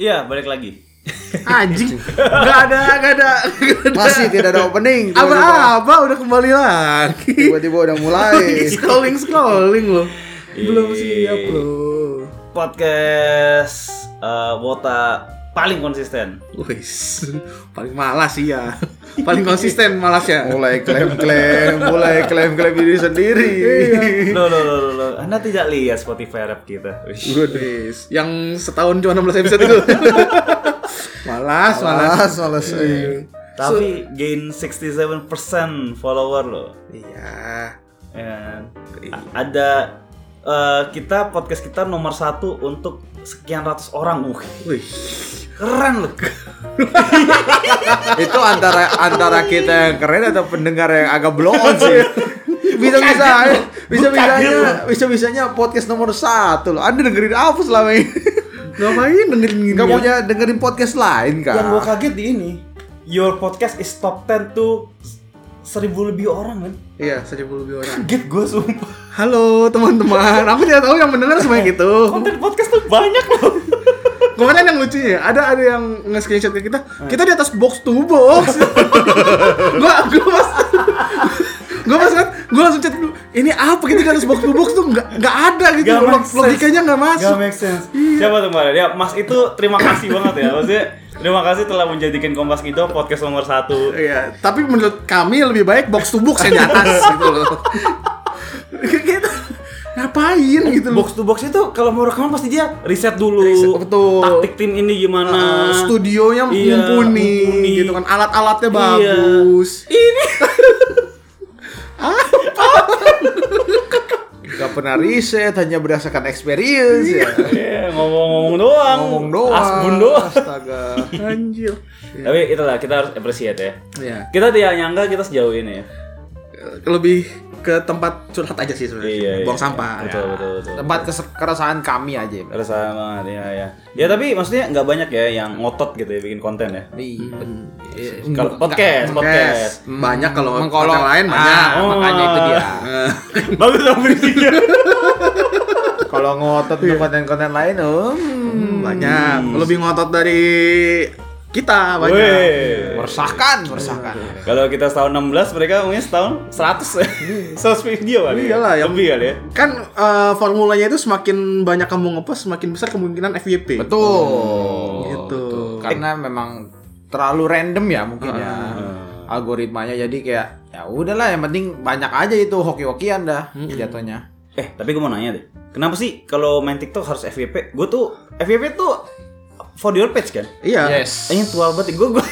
Iya, balik lagi. Anjing. Enggak ada, enggak ada. nggak ada. Masih tidak ada opening. Tiba-tiba- Apa-apa udah kembali lagi. Tiba-tiba udah mulai. scrolling scrolling lo. Belum ya, Ih. siap lo. Podcast eh, Wota paling konsisten. Wis. Paling malas sih ya. Paling konsisten malas ya. mulai klaim-klaim, mulai klaim-klaim diri sendiri. Iya. Loh, loh, loh, loh, loh. Anda tidak lihat Spotify rap kita. Wih. Wis. Yang setahun cuma 16 episode itu. malas, malas. Malas, malas. eh. Tapi gain 67% follower loh. Iya. Ya. A- Ada eh, kita podcast kita nomor satu untuk sekian ratus orang. Wih, Wih. keren loh. Itu antara antara kita yang keren atau pendengar yang agak blow on sih. Bisa bisa bisa bisanya bisa bisanya podcast nomor satu loh. Anda dengerin apa selama ini? Ngapain dengerin ya? Gak punya dengerin podcast lain Yang gue kan? kaget di ini, your podcast is top 10 tuh seribu lebih orang kan? Iya, 1000 lebih orang. Kaget gue sumpah. Halo teman-teman, aku tidak tahu yang mendengar semuanya gitu. Konten podcast tuh banyak loh. Kemarin yang lucunya ada ada yang nge-screenshot ke kita, kita di atas box to box. gua gua pas gua pas kan, gua langsung chat dulu, ini apa kita di atas box to box tuh nggak nggak ada gitu, Nggak log- make sense. logikanya nggak masuk. Iya. Gak make sense. Siapa tuh kemarin? Ya, Mas itu terima kasih banget ya. Maksudnya terima kasih telah menjadikan Kompas Kido podcast nomor satu. Iya, tapi menurut kami lebih baik box to box yang di atas gitu loh. kita ngapain gitu loh. Box to box itu kalau mau rekaman pasti dia riset dulu. Riset, betul. Taktik tim ini gimana? Uh, studionya Iya, mumpuni, mumpuni. gitu kan alat-alatnya Iya. bagus Ini Gak pernah riset, hanya berdasarkan experience ya. Iya, ngomong-ngomong doang. Ngomong doang. Asbun doang. Astaga. anjir Tapi itulah kita harus appreciate ya. ya Kita tidak nyangka kita sejauh ini ya. lebih ke tempat curhat aja sih sebenarnya Iya, iya. buang sampah Betul, ya. betul, betul. Tempat kes- keresahan kami aja. Bang. Resah banget ya ya. Ya tapi maksudnya nggak banyak ya yang ngotot gitu ya bikin konten ya. Iya. Kalau podcast, podcast. Hmm. Oh. Podcast. banyak kalau Mengkolong konten lain banyak Hmm. Ah, makanya itu dia. Eh, Bagus dong berisinya. Kalau ngotot di konten-konten lain, hmm, banyak lebih ngotot dari kita banyak Weh. meresahkan, meresahkan. Kalau kita setahun 16, mereka mungkin setahun 100 ya. 100 video kali. ya? Iya. Iyalah, yang- lebih kali ya. kan eh, formulanya itu semakin banyak kamu ngepost semakin besar kemungkinan FYP Betul. gitu. Karena memang terlalu random ya mungkin ya algoritmanya jadi kayak ya udahlah yang penting banyak aja itu hoki-hokian dah jatuhnya. Eh, tapi gue mau nanya deh. Kenapa sih kalau main TikTok harus FYP? Gue tuh FYP tuh for your page kan? iya Ini tua banget gue gue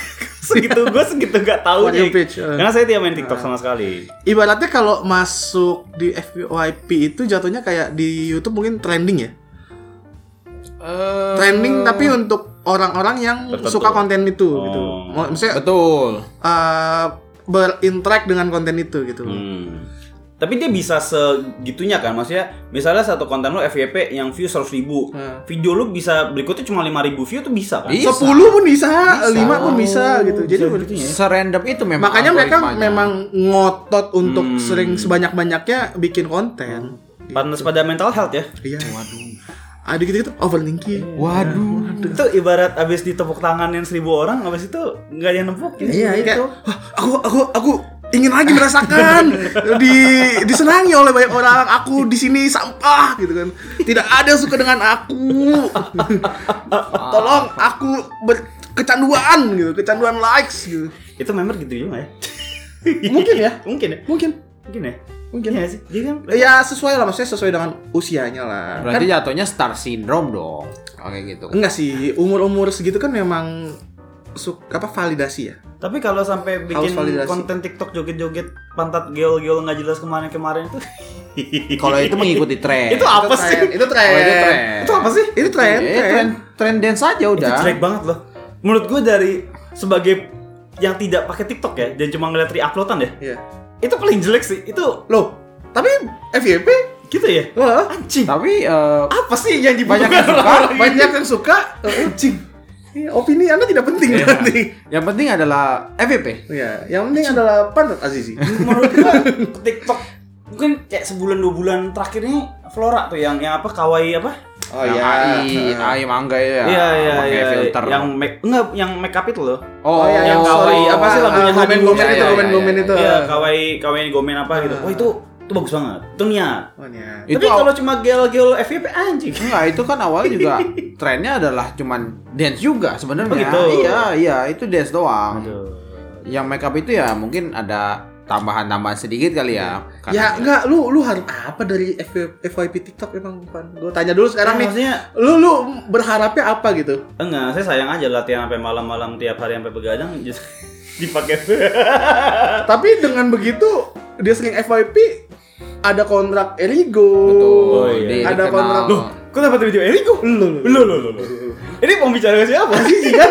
segitu gue segitu gak tahu For nih. your page, eh. Karena saya tidak main TikTok sama sekali. ibaratnya kalau masuk di FYP itu jatuhnya kayak di YouTube mungkin trending ya. Eh, Trending tapi untuk orang-orang yang Tertentu. suka konten itu gitu. Oh. Mau- Maksudnya Betul. eh, berinteract dengan konten itu gitu. Hmm. Tapi dia bisa segitunya kan maksudnya misalnya satu konten lo FYP yang view 100 ribu Hmm. video lo bisa berikutnya cuma 5 ribu view tuh bisa kan? Iya. Bisa. 10 pun bisa, 5 pun bisa gitu. Jadi Serandom itu memang makanya mereka algoritmanya. memang ngotot untuk Hmm. sering sebanyak-banyaknya bikin konten. Pantas pada mental health ya. Iya. Hmm. Waduh. Ada gitu-gitu overthinking. waduh itu ibarat abis ditepuk tanganin seribu orang abis itu nggak ada yang gitu. nempukin Kayak, "Wah, aku aku aku ingin lagi merasakan di disenangi oleh banyak orang aku di sini sampah gitu kan tidak ada yang suka dengan aku tolong aku ber- kecanduan gitu kecanduan likes gitu itu member gitu juga ya Mungkin ya. mungkin ya mungkin mungkin ya Mungkin. ya sih dia kan ya sesuai lah maksudnya sesuai dengan usianya lah Kan berarti ya jatuhnya star syndrome dong kayak gitu enggak sih umur umur segitu kan memang su- apa validasi ya tapi kalau sampai bikin Harus validasi. konten TikTok joget-joget pantat geol-geol nggak jelas kemarin-kemarin tuh kalau itu mengikuti tren Itu apa tren, sih? itu tren. Kalau itu tren. Itu apa sih itu tren Eh, tren tren dance aja udah jelek banget loh menurut gue dari sebagai yang tidak pakai TikTok ya dan cuma ngeliat re-uploadan ya Iya. itu paling jelek sih itu loh tapi FYP gitu ya wah anjing tapi eh, apa sih yang dibutuhkan banyak yang suka orang-orang ini? banyak yang suka eh, anjing Iya, opini anda tidak penting Iya. nanti yang penting adalah FVP ya yang penting adalah pantat Azizi menurut gua TikTok mungkin kayak sebulan dua bulan terakhir ini Flora tuh yang yang apa kawaii apa Oh Yang iya. AI, AI mangga ya. Iya iya Pakai iya. filter. Yang make enggak yang make up itu loh. Oh, iya, yang kawaii, apa sih lagunya Gomen Hadi Gomen Budi? itu Iya, Gomen iya, Gomen iya. itu. Iya, kawaii kawaii gomen apa gitu. Wah itu itu bagus banget. Itu niat. Oh, iya. Itu Tapi aw- kalau cuma gel-gel FYP anjing. Enggak, itu kan awalnya juga trennya adalah cuman dance juga sebenarnya. Oh, gitu. Iya, iya, itu dance doang. Aduh. Yang makeup itu ya mungkin ada tambahan-tambahan sedikit kali ya. Iya. Karena- Ya enggak, lu lu harap apa dari FY- FYP TikTok emang Pan? Gue tanya dulu Karena sekarang nih. Iya, maksudnya Lu lu berharapnya apa gitu? enggak, saya sayang aja latihan sampai malam-malam tiap hari sampai begadang just dipakai. Eh. Tapi dengan begitu dia sering FYP ada kontrak Erigo. Betul. Oh, iya. di- Ada dikenal. kontrak. Loh, kok dapat video Eriko? Lu lu. Loh, loh, loh, loh. Ini pembicaraan siapa sih? Iya.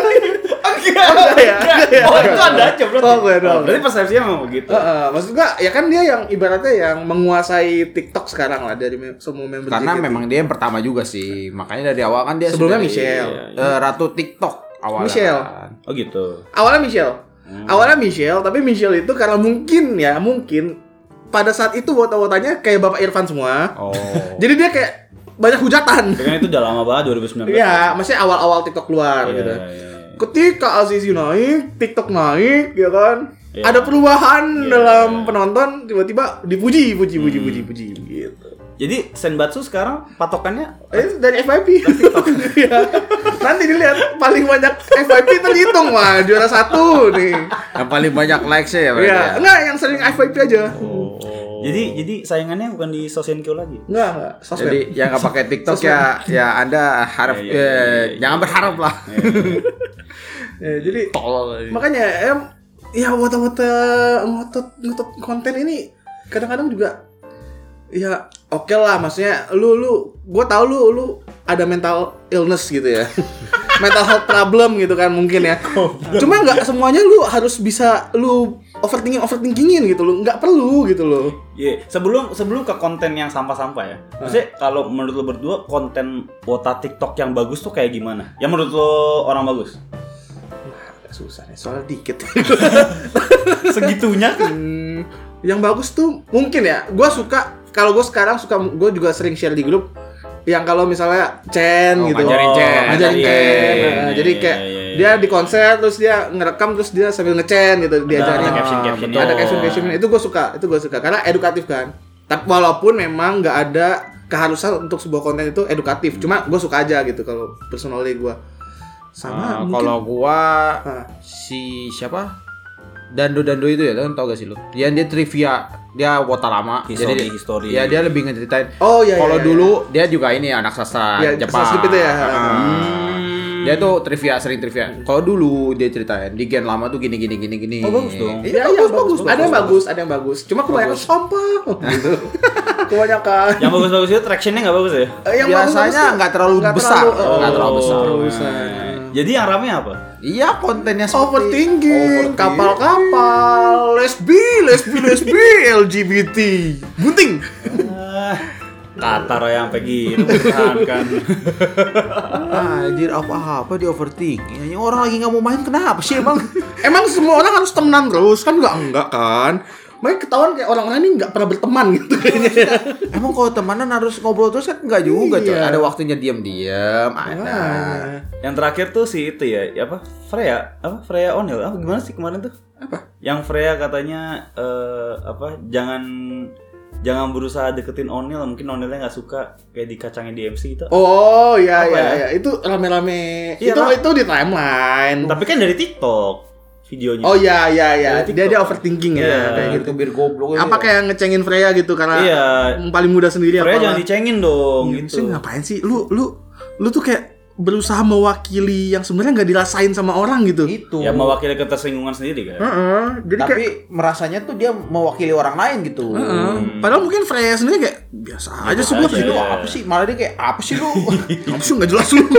Enggak. ya? enggak. Oh, itu ada aja berarti. Oh, enggak, enggak. Berarti persepsinya memang begitu. Heeh, maksud gua ya kan dia yang ibaratnya yang menguasai TikTok sekarang lah dari me- semua member Karena JKT. memang dia yang pertama juga sih. Makanya dari awal kan dia Sebelumnya sudah di- Michelle. eh, ratu TikTok awalnya. Michelle. kan. Oh, gitu. awalnya Michelle. Hmm. Awalnya Michelle, tapi Michelle itu karena mungkin ya, mungkin pada saat itu wota-wotanya kayak Bapak Irfan semua. Oh. Jadi dia kayak banyak hujatan. Dengan itu udah lama banget 2019. Iya, maksudnya awal-awal TikTok keluar Iya, gitu. iya, iya. Ketika Azizi naik, TikTok naik, ya kan? Iya. Ada perubahan Iya. Hmm. dalam penonton tiba-tiba dipuji, puji, puji, puji, puji, gitu. Jadi Senbatsu sekarang patokannya Eh, dari FYP. Iya. Nanti dilihat paling banyak FYP itu dihitung wah juara satu nih. yang paling banyak likes ya berarti. Iya, ya. Oh. enggak yang sering FYP aja. Jadi jadi sayangannya bukan di Sosenkyo lagi. Enggak, enggak. Sosmed. Jadi yang nggak pakai TikTok ya ya Anda harap Iya, iya, iya, eh, iya. jangan berharap lah. Ya, jadi Tolol. makanya em ya wata-wata ngotot ngotot konten ini kadang-kadang juga ya oke lah maksudnya lu lu gue tau lu lu ada mental illness gitu ya mental health problem gitu kan mungkin ya cuma nggak semuanya lu harus bisa lu overthinking overthinkingin gitu lo nggak perlu gitu lo Iya, sebelum sebelum ke konten yang sampah-sampah ya. Maksudnya kalau menurut lo berdua konten wota TikTok yang bagus tuh kayak gimana? Yang menurut lo orang bagus? susah nih soalnya dikit Segitunya kan? Hmm, yang bagus tuh mungkin ya. Gue suka kalau gue sekarang suka gue juga sering share di grup yang kalau misalnya Chen Oh, gitu. ngajarin Chen. ngajarin Iya, Chen. iya, Nah, jadi kayak dia di konser terus dia ngerekam terus dia sambil nge-Chen gitu Nah, ada diajarin. caption caption Ada caption Oh. caption itu gue suka, itu gue suka karena edukatif kan. Tapi walaupun memang nggak ada keharusan untuk sebuah konten itu edukatif, cuma gue suka aja gitu kalau personally gue. Sama mungkin. Ah, kalau gua Ah. si siapa? Dando Dando itu ya, kan tau gak sih lu? Dia dia trivia, dia wota lama. History, jadi dia- history. Ya dia lebih ngeceritain. Oh, iya, iya, Kalau iya. dulu dia juga ini anak sastra Ya, Jepang. sastra gitu ya. Ah. Dia tuh trivia sering trivia. Kalau dulu dia ceritain di gen lama tuh gini gini gini gini. Oh, bagus dong. Iya, iya, bagus, Ada yang bagus, ada yang bagus. Cuma kebanyakan sampah gitu. kebanyakan. Yang bagus-bagus itu tractionnya nggak bagus ya? Eh, yang Biasanya bagus-bagus tuh nggak terlalu besar. eh, Nggak terlalu besar. Nah. terlalu besar. Jadi yang rame apa? Iya kontennya seperti Overthinking, kapal-kapal, lesbi, lesbi, lesbi, LGBT, bunting. Ah, Qatar yang pergi bukan kan. Anjir apa-apa di overthinking. Orang lagi nggak mau main kenapa sih emang? Emang semua orang harus temenan terus kan nggak enggak kan? Makanya ketahuan kayak orang-orang ini nggak pernah berteman gitu kayaknya. Emang kalau temanan harus ngobrol terus kan enggak juga, coy. Iya. Ada waktunya diam-diam, ada. Yang terakhir tuh si itu ya, ya apa? Freya, apa Freya Onil? Apa gimana sih kemarin tuh? Apa? Yang Freya katanya eh, apa? Jangan jangan berusaha deketin Onil, mungkin Onilnya nggak suka kayak dikacangin di MC itu. Oh iya Apa iya ya? iya itu rame-rame. Iya, itu lah. itu di timeline. Tapi kan dari TikTok videonya. Oh iya iya iya. Dari Dia TikTok. dia overthinking ya Iya. kayak gitu. Kebir goblok. Apa kayak ngecengin Freya gitu karena Iya. paling muda sendiri Freya apa jangan dicengin dong Sih, gitu. ngapain sih lu lu lu tuh kayak berusaha mewakili yang sebenarnya nggak dirasain sama orang gitu. itu? Ya mewakili ketersinggungan sendiri kan. Heeh, jadi kayak Tapi merasanya tuh dia mewakili orang lain gitu. Heeh. padahal mungkin Freya sendiri kayak biasa aja sih hmm. gua aja. ya. gitu. Lu apa sih? Malah dia kayak apa sih lu? Apa sih nggak jelas lu.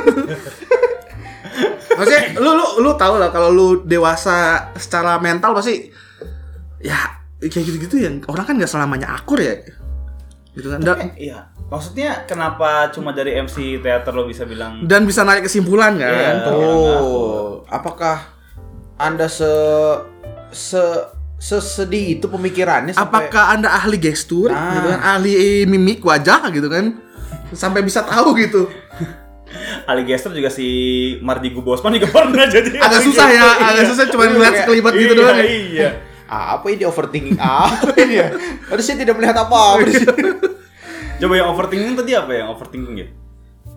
Maksudnya lu lu lu tahu lah kalau lu dewasa secara mental pasti ya kayak gitu-gitu ya orang kan nggak selamanya akur ya gitu kan dan, Iya. Maksudnya kenapa cuma dari MC teater lo bisa bilang dan bisa narik kesimpulan kan Iya. Tuh, apakah Anda se se sesedih itu pemikirannya sampai Ah. apakah anda ahli gestur Nah. gitu kan ahli mimik wajah gitu kan sampai bisa tahu gitu. Ali Gester juga si Mardi Gubosman juga pernah jadi Agak Ali susah ya, Gester, agak iya. susah cuma ngeliat sekelibat gitu Iya, doang. ya. Iya. "Ah, apa ini overthinking apa ini ya? Aduh saya tidak melihat apa-apa di sini. Coba yang overthinking tadi apa yang overthinking ya?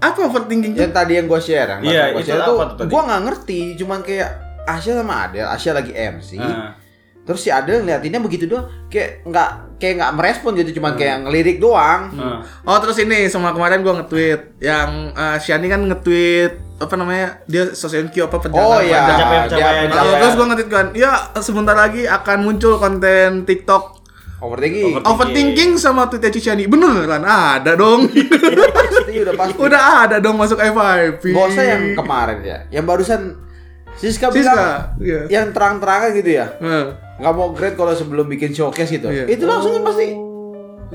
Apa overthinking? Yang tadi yang gue share, yang Iya, gue itu share apa tuh, tuh tadi? gue nggak ngerti, cuman kayak Asia sama Adel, Asia lagi MC, Ah. terus si Adel ngeliatinnya begitu doang, kayak nggak kayak nggak merespon gitu, Hmm. cuman kayak ngelirik doang. Ah. Oh terus ini sama kemarin gua nge-tweet yang eh, Shani kan nge-tweet apa namanya dia sosial Q apa penjara Oh penjara. iya, pencapaian- dia pencapaian. Lalu Iya. terus gua nge-tweet kan, ya sebentar lagi akan muncul konten TikTok overthinking. Overthinking. overthinking sama tweetnya Ciciani beneran ada dong Pasti udah pasti. udah ada dong masuk FYP Gak usah yang kemarin ya, yang barusan Siska, bilang Siska iya. yang terang-terangan gitu ya, Heeh. nggak mau grade kalau sebelum bikin showcase gitu. Iya. Itu langsung pasti.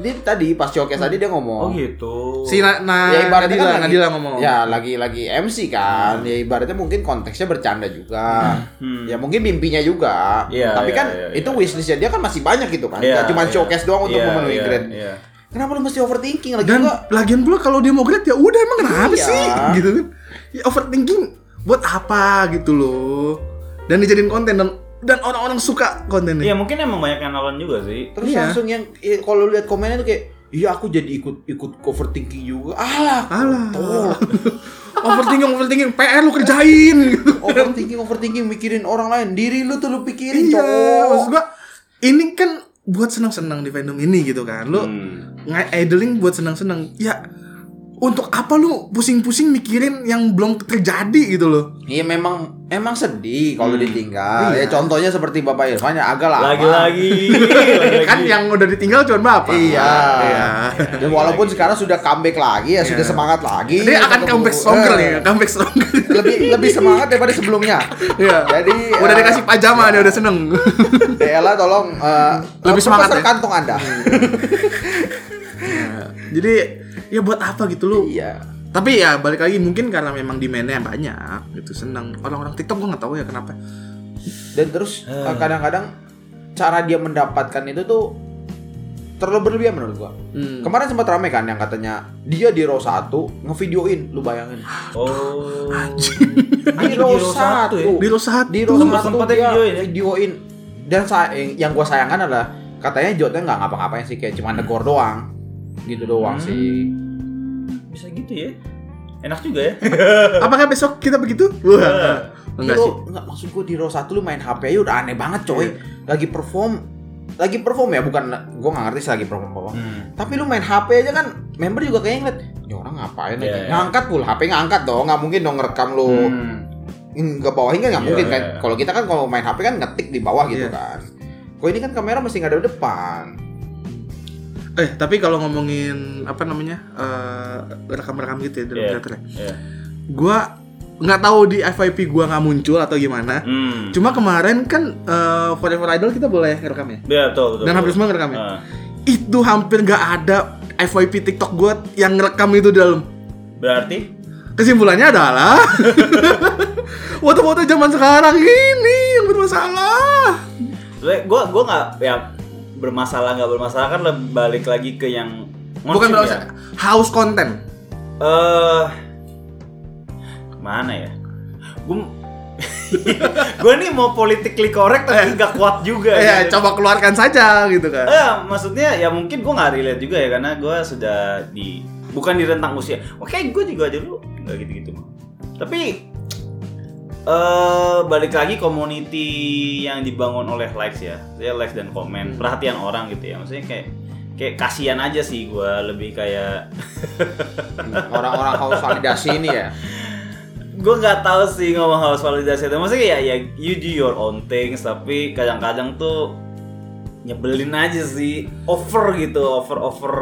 Dia tadi pas showcase tadi dia Oh ngomong. gitu. si na, na, ya ibaratnya Nadila, kan lagi, Nadila ngomong ya lagi lagi MC kan ya ibaratnya mungkin konteksnya bercanda juga Hmm. ya mungkin mimpinya juga Iya, tapi iya, kan iya, itu wishlistnya dia kan masih banyak gitu kan Iya, Gak iya. cuma showcase doang untuk Iya, memenuhi iya, grade iya. kenapa lu mesti overthinking lagi dan juga lagian pula kalau dia mau grade ya udah emang kenapa Iya. sih gitu kan ya overthinking buat apa gitu loh dan dijadiin konten dan dan orang-orang Iya suka kontennya mungkin emang banyak yang nonton juga sih. terus Iya. langsung yang eh, kalau lu lihat komennya tuh kayak iya aku jadi ikut ikut overthinking juga alah Alah. kotor. overthinking overthinking PR lu kerjain gitu overthinking overthinking mikirin orang lain diri lu tuh lu pikirin iya maksud cowok gua ini kan buat senang-senang di fandom ini gitu kan lu Hmm. nge idling buat senang-senang ya untuk apa lu pusing-pusing mikirin yang belum terjadi gitu loh Iya memang emang sedih kalau Hmm. ditinggal. Iya. Ya contohnya seperti Bapak Irfan ya agak lama. Lagi-lagi. kan yang udah ditinggal cuma bapak Iya. Iya. Dan walaupun sekarang sudah comeback lagi ya sudah semangat lagi. dia akan Ketemu- comeback stronger ya. Eh, nih comeback stronger Lebih lebih semangat daripada sebelumnya. Iya. Jadi udah eh, dikasih pajama dia udah seneng Dela tolong eh, Lebih semangat pasar ya. kantong Anda. jadi ya buat apa gitu lu Iya. tapi ya balik lagi mungkin karena memang demand-nya banyak gitu seneng orang-orang TikTok gua nggak tahu ya kenapa Dan terus eh, kadang-kadang cara dia mendapatkan itu tuh terlalu berlebihan menurut gua. Hmm. Kemarin sempat rame kan yang katanya dia di row 1 ngevideoin, lu bayangin. Oh. Di row 1. ya? di Rosa satu di Rosa Sempat- satu sempatnya dia videoin videoin, ya? dan sa- yang, yang gue sayangkan adalah katanya Jotnya nggak ngapa-ngapain sih kayak cuma negor doang gitu doang Hmm. sih Bisa gitu ya. Enak juga ya. Hmm. apakah besok kita begitu wah Enggak enggak sih enggak maksud gue di row satu lu main HP aja udah aneh banget coy lagi perform lagi perform ya bukan gue nggak ngerti sih lagi perform apa Hmm. tapi lu main HP aja kan member juga kayak ngeliat ini orang ngapain Iya, aja iya. Hmm. ngangkat pula HP ngangkat dong nggak mungkin dong ngerekam lu Oh, nggak bawahin kan nggak Iya, mungkin iya, kan iya. kalau kita kan kalau main HP kan ngetik di bawah gitu Iya. kan kok ini kan kamera mesti nggak ada di depan Eh, tapi kalau ngomongin apa namanya? eh, rekam-rekam gitu ya dalam Iya. teater ya. Iya. Gua nggak tahu di FYP gua nggak muncul atau gimana. Hmm. Cuma kemarin kan eh, Forever Idol kita boleh ngerekam ya. Ya, betul, betul. Dan hampir betul. semua ngerekam ya. Ah. Itu hampir nggak ada FYP TikTok gua yang ngerekam itu di dalam. Berarti Kesimpulannya adalah foto-foto zaman sekarang ini yang bermasalah. sebenarnya gua gua nggak ya bermasalah nggak bermasalah kan lebih balik lagi ke yang ngonsum Bukan bermasalah, ya. house content. Eh mana ya? Gua gua nih mau politically correct tapi nggak kuat juga. Ya, gitu. coba keluarkan saja gitu kan. Eh, maksudnya ya mungkin gue nggak relate juga ya karena gue sudah di bukan di rentang usia. Oke, gue juga dulu nggak gitu-gitu. Tapi eh balik lagi community yang dibangun oleh likes ya, ya likes dan komen, perhatian orang gitu ya. Maksudnya kayak kayak kasihan aja sih gue lebih kayak orang-orang haus validasi ini ya gue nggak tahu sih ngomong harus validasi itu maksudnya ya ya you do your own things tapi kadang-kadang tuh nyebelin aja sih over gitu over over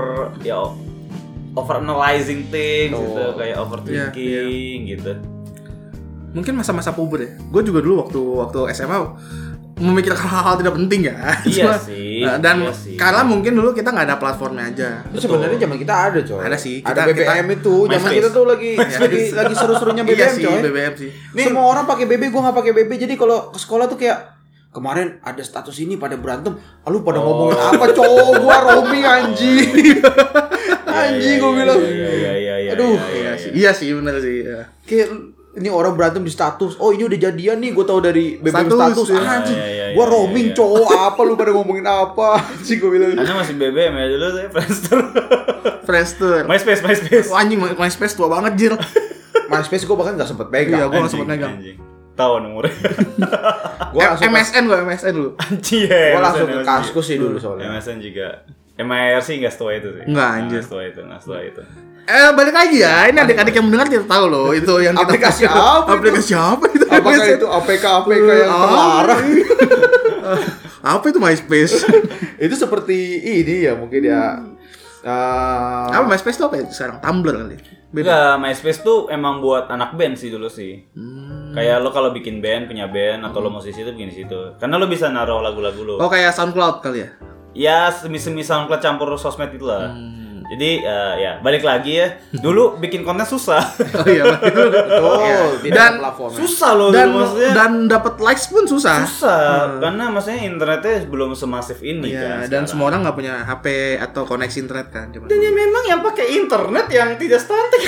ya over analyzing things Oh. gitu kayak overthinking gitu mungkin masa-masa puber ya gue juga dulu waktu waktu SMA memikirkan hal-hal tidak penting ya Iya Cuma- sih, Nah, dan iya sih. karena mungkin dulu kita nggak ada platformnya aja Terus sebenarnya zaman kita ada coy Ada sih, ada kita- kita- BBM itu zaman MySpace. kita tuh lagi lagi, lagi seru-serunya BBM iya sih coy BBM sih semua orang pakai BB gua nggak pakai BB jadi kalau ke sekolah tuh kayak kemarin ada status Ah, ini pada berantem lalu pada ngomongin apa cowok gua Romi anjing anjing gue bilang. Iya iya iya. iya, iya, Aduh. Iya iya, sih, iya. iya sih benar sih. Iya. Kayak ini orang berantem di status. Oh, ini udah jadian nih, gue tahu dari BBM Status, status. iya. Anjing. Iya, iya, iya, Gua iya, roaming iya. cowok apa lu pada ngomongin apa? Anjing gue bilang. Anda masih BBM ya dulu saya Friendster. Friendster. MySpace MySpace. Wah, anjing My- MySpace tua banget jir. MySpace gue bahkan gak sempet pegang. Iya, gua nggak Anjing, sempet megang. anjing. Tahun umurnya. Gua Eh, M- langsung, MSN gua MSN dulu. Anjing ya. gua MSN, langsung ke MSN. kaskus sih dulu soalnya. MSN juga. MIRC nggak setua itu sih. Nah, Nggak, anjir. Nggak setua itu, nggak setua itu. Eh balik lagi ya, ini adik-adik yang mendengar tidak tahu loh itu yang kita Aplikasi apa itu? Aplikasi apa itu? Apakah MSN? itu APK APK yang Ah. terlarang? apa itu MySpace? itu seperti ini ya mungkin ya. eh, apa MySpace itu apa ya sekarang? Tumblr kali. Enggak, Beda. MySpace tuh emang buat anak band sih dulu sih. Hmm. Kayak lo kalau bikin band, punya band atau lo musisi itu bikin di situ. Karena lo bisa naruh lagu-lagu lo. Oh kayak SoundCloud kali ya? Ya semi-semi SoundCloud campur sosmed itu lah. Hmm. Jadi eh, ya balik lagi ya. Dulu bikin konten susah. Oh iya. betul. betul, Iya. tidak dan ada platformnya. susah lo dan dulu maksudnya. dan dapat likes pun susah. susah karena maksudnya internetnya belum semasif ini kan. Iya, dan sekarang. semua orang nggak punya HP atau koneksi internet kan. Cuma. Dan ya memang yang pakai internet yang tidak statik.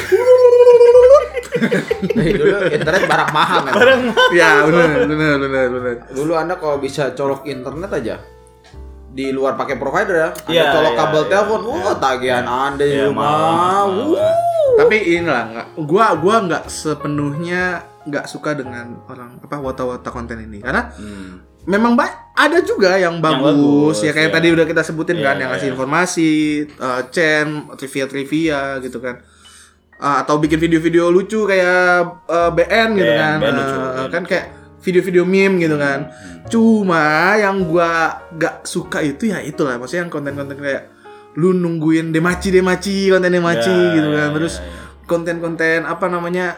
Dari dulu internet barang mahal kan. Barang Ya benar benar benar benar. Dulu anda kalau bisa colok internet aja di luar pakai provider ya, anda Iya, colok iya, kabel iya, telepon, iya. wah tagihan anda di Iya, rumah, mahal, mahal. wuh. Tapi inilah nggak. Gua gua nggak sepenuhnya nggak suka dengan orang apa wata-wata konten ini karena Hmm. memang ba- ada juga yang bagus, bagus, ya kayak ya. tadi udah kita sebutin Iya, kan yang ngasih iya. informasi, eh, Chan, trivia-trivia gitu kan. Eh, atau bikin video-video lucu kayak eh, BN gitu BN, kan. BN lucu, Hmm, Eh, BN kan kayak video-video meme gitu kan. Cuma yang gua gak suka itu ya itulah maksudnya yang konten-konten kayak lu nungguin demaci demaci konten demaci Ya, gitu kan ya, terus ya, ya. konten-konten apa namanya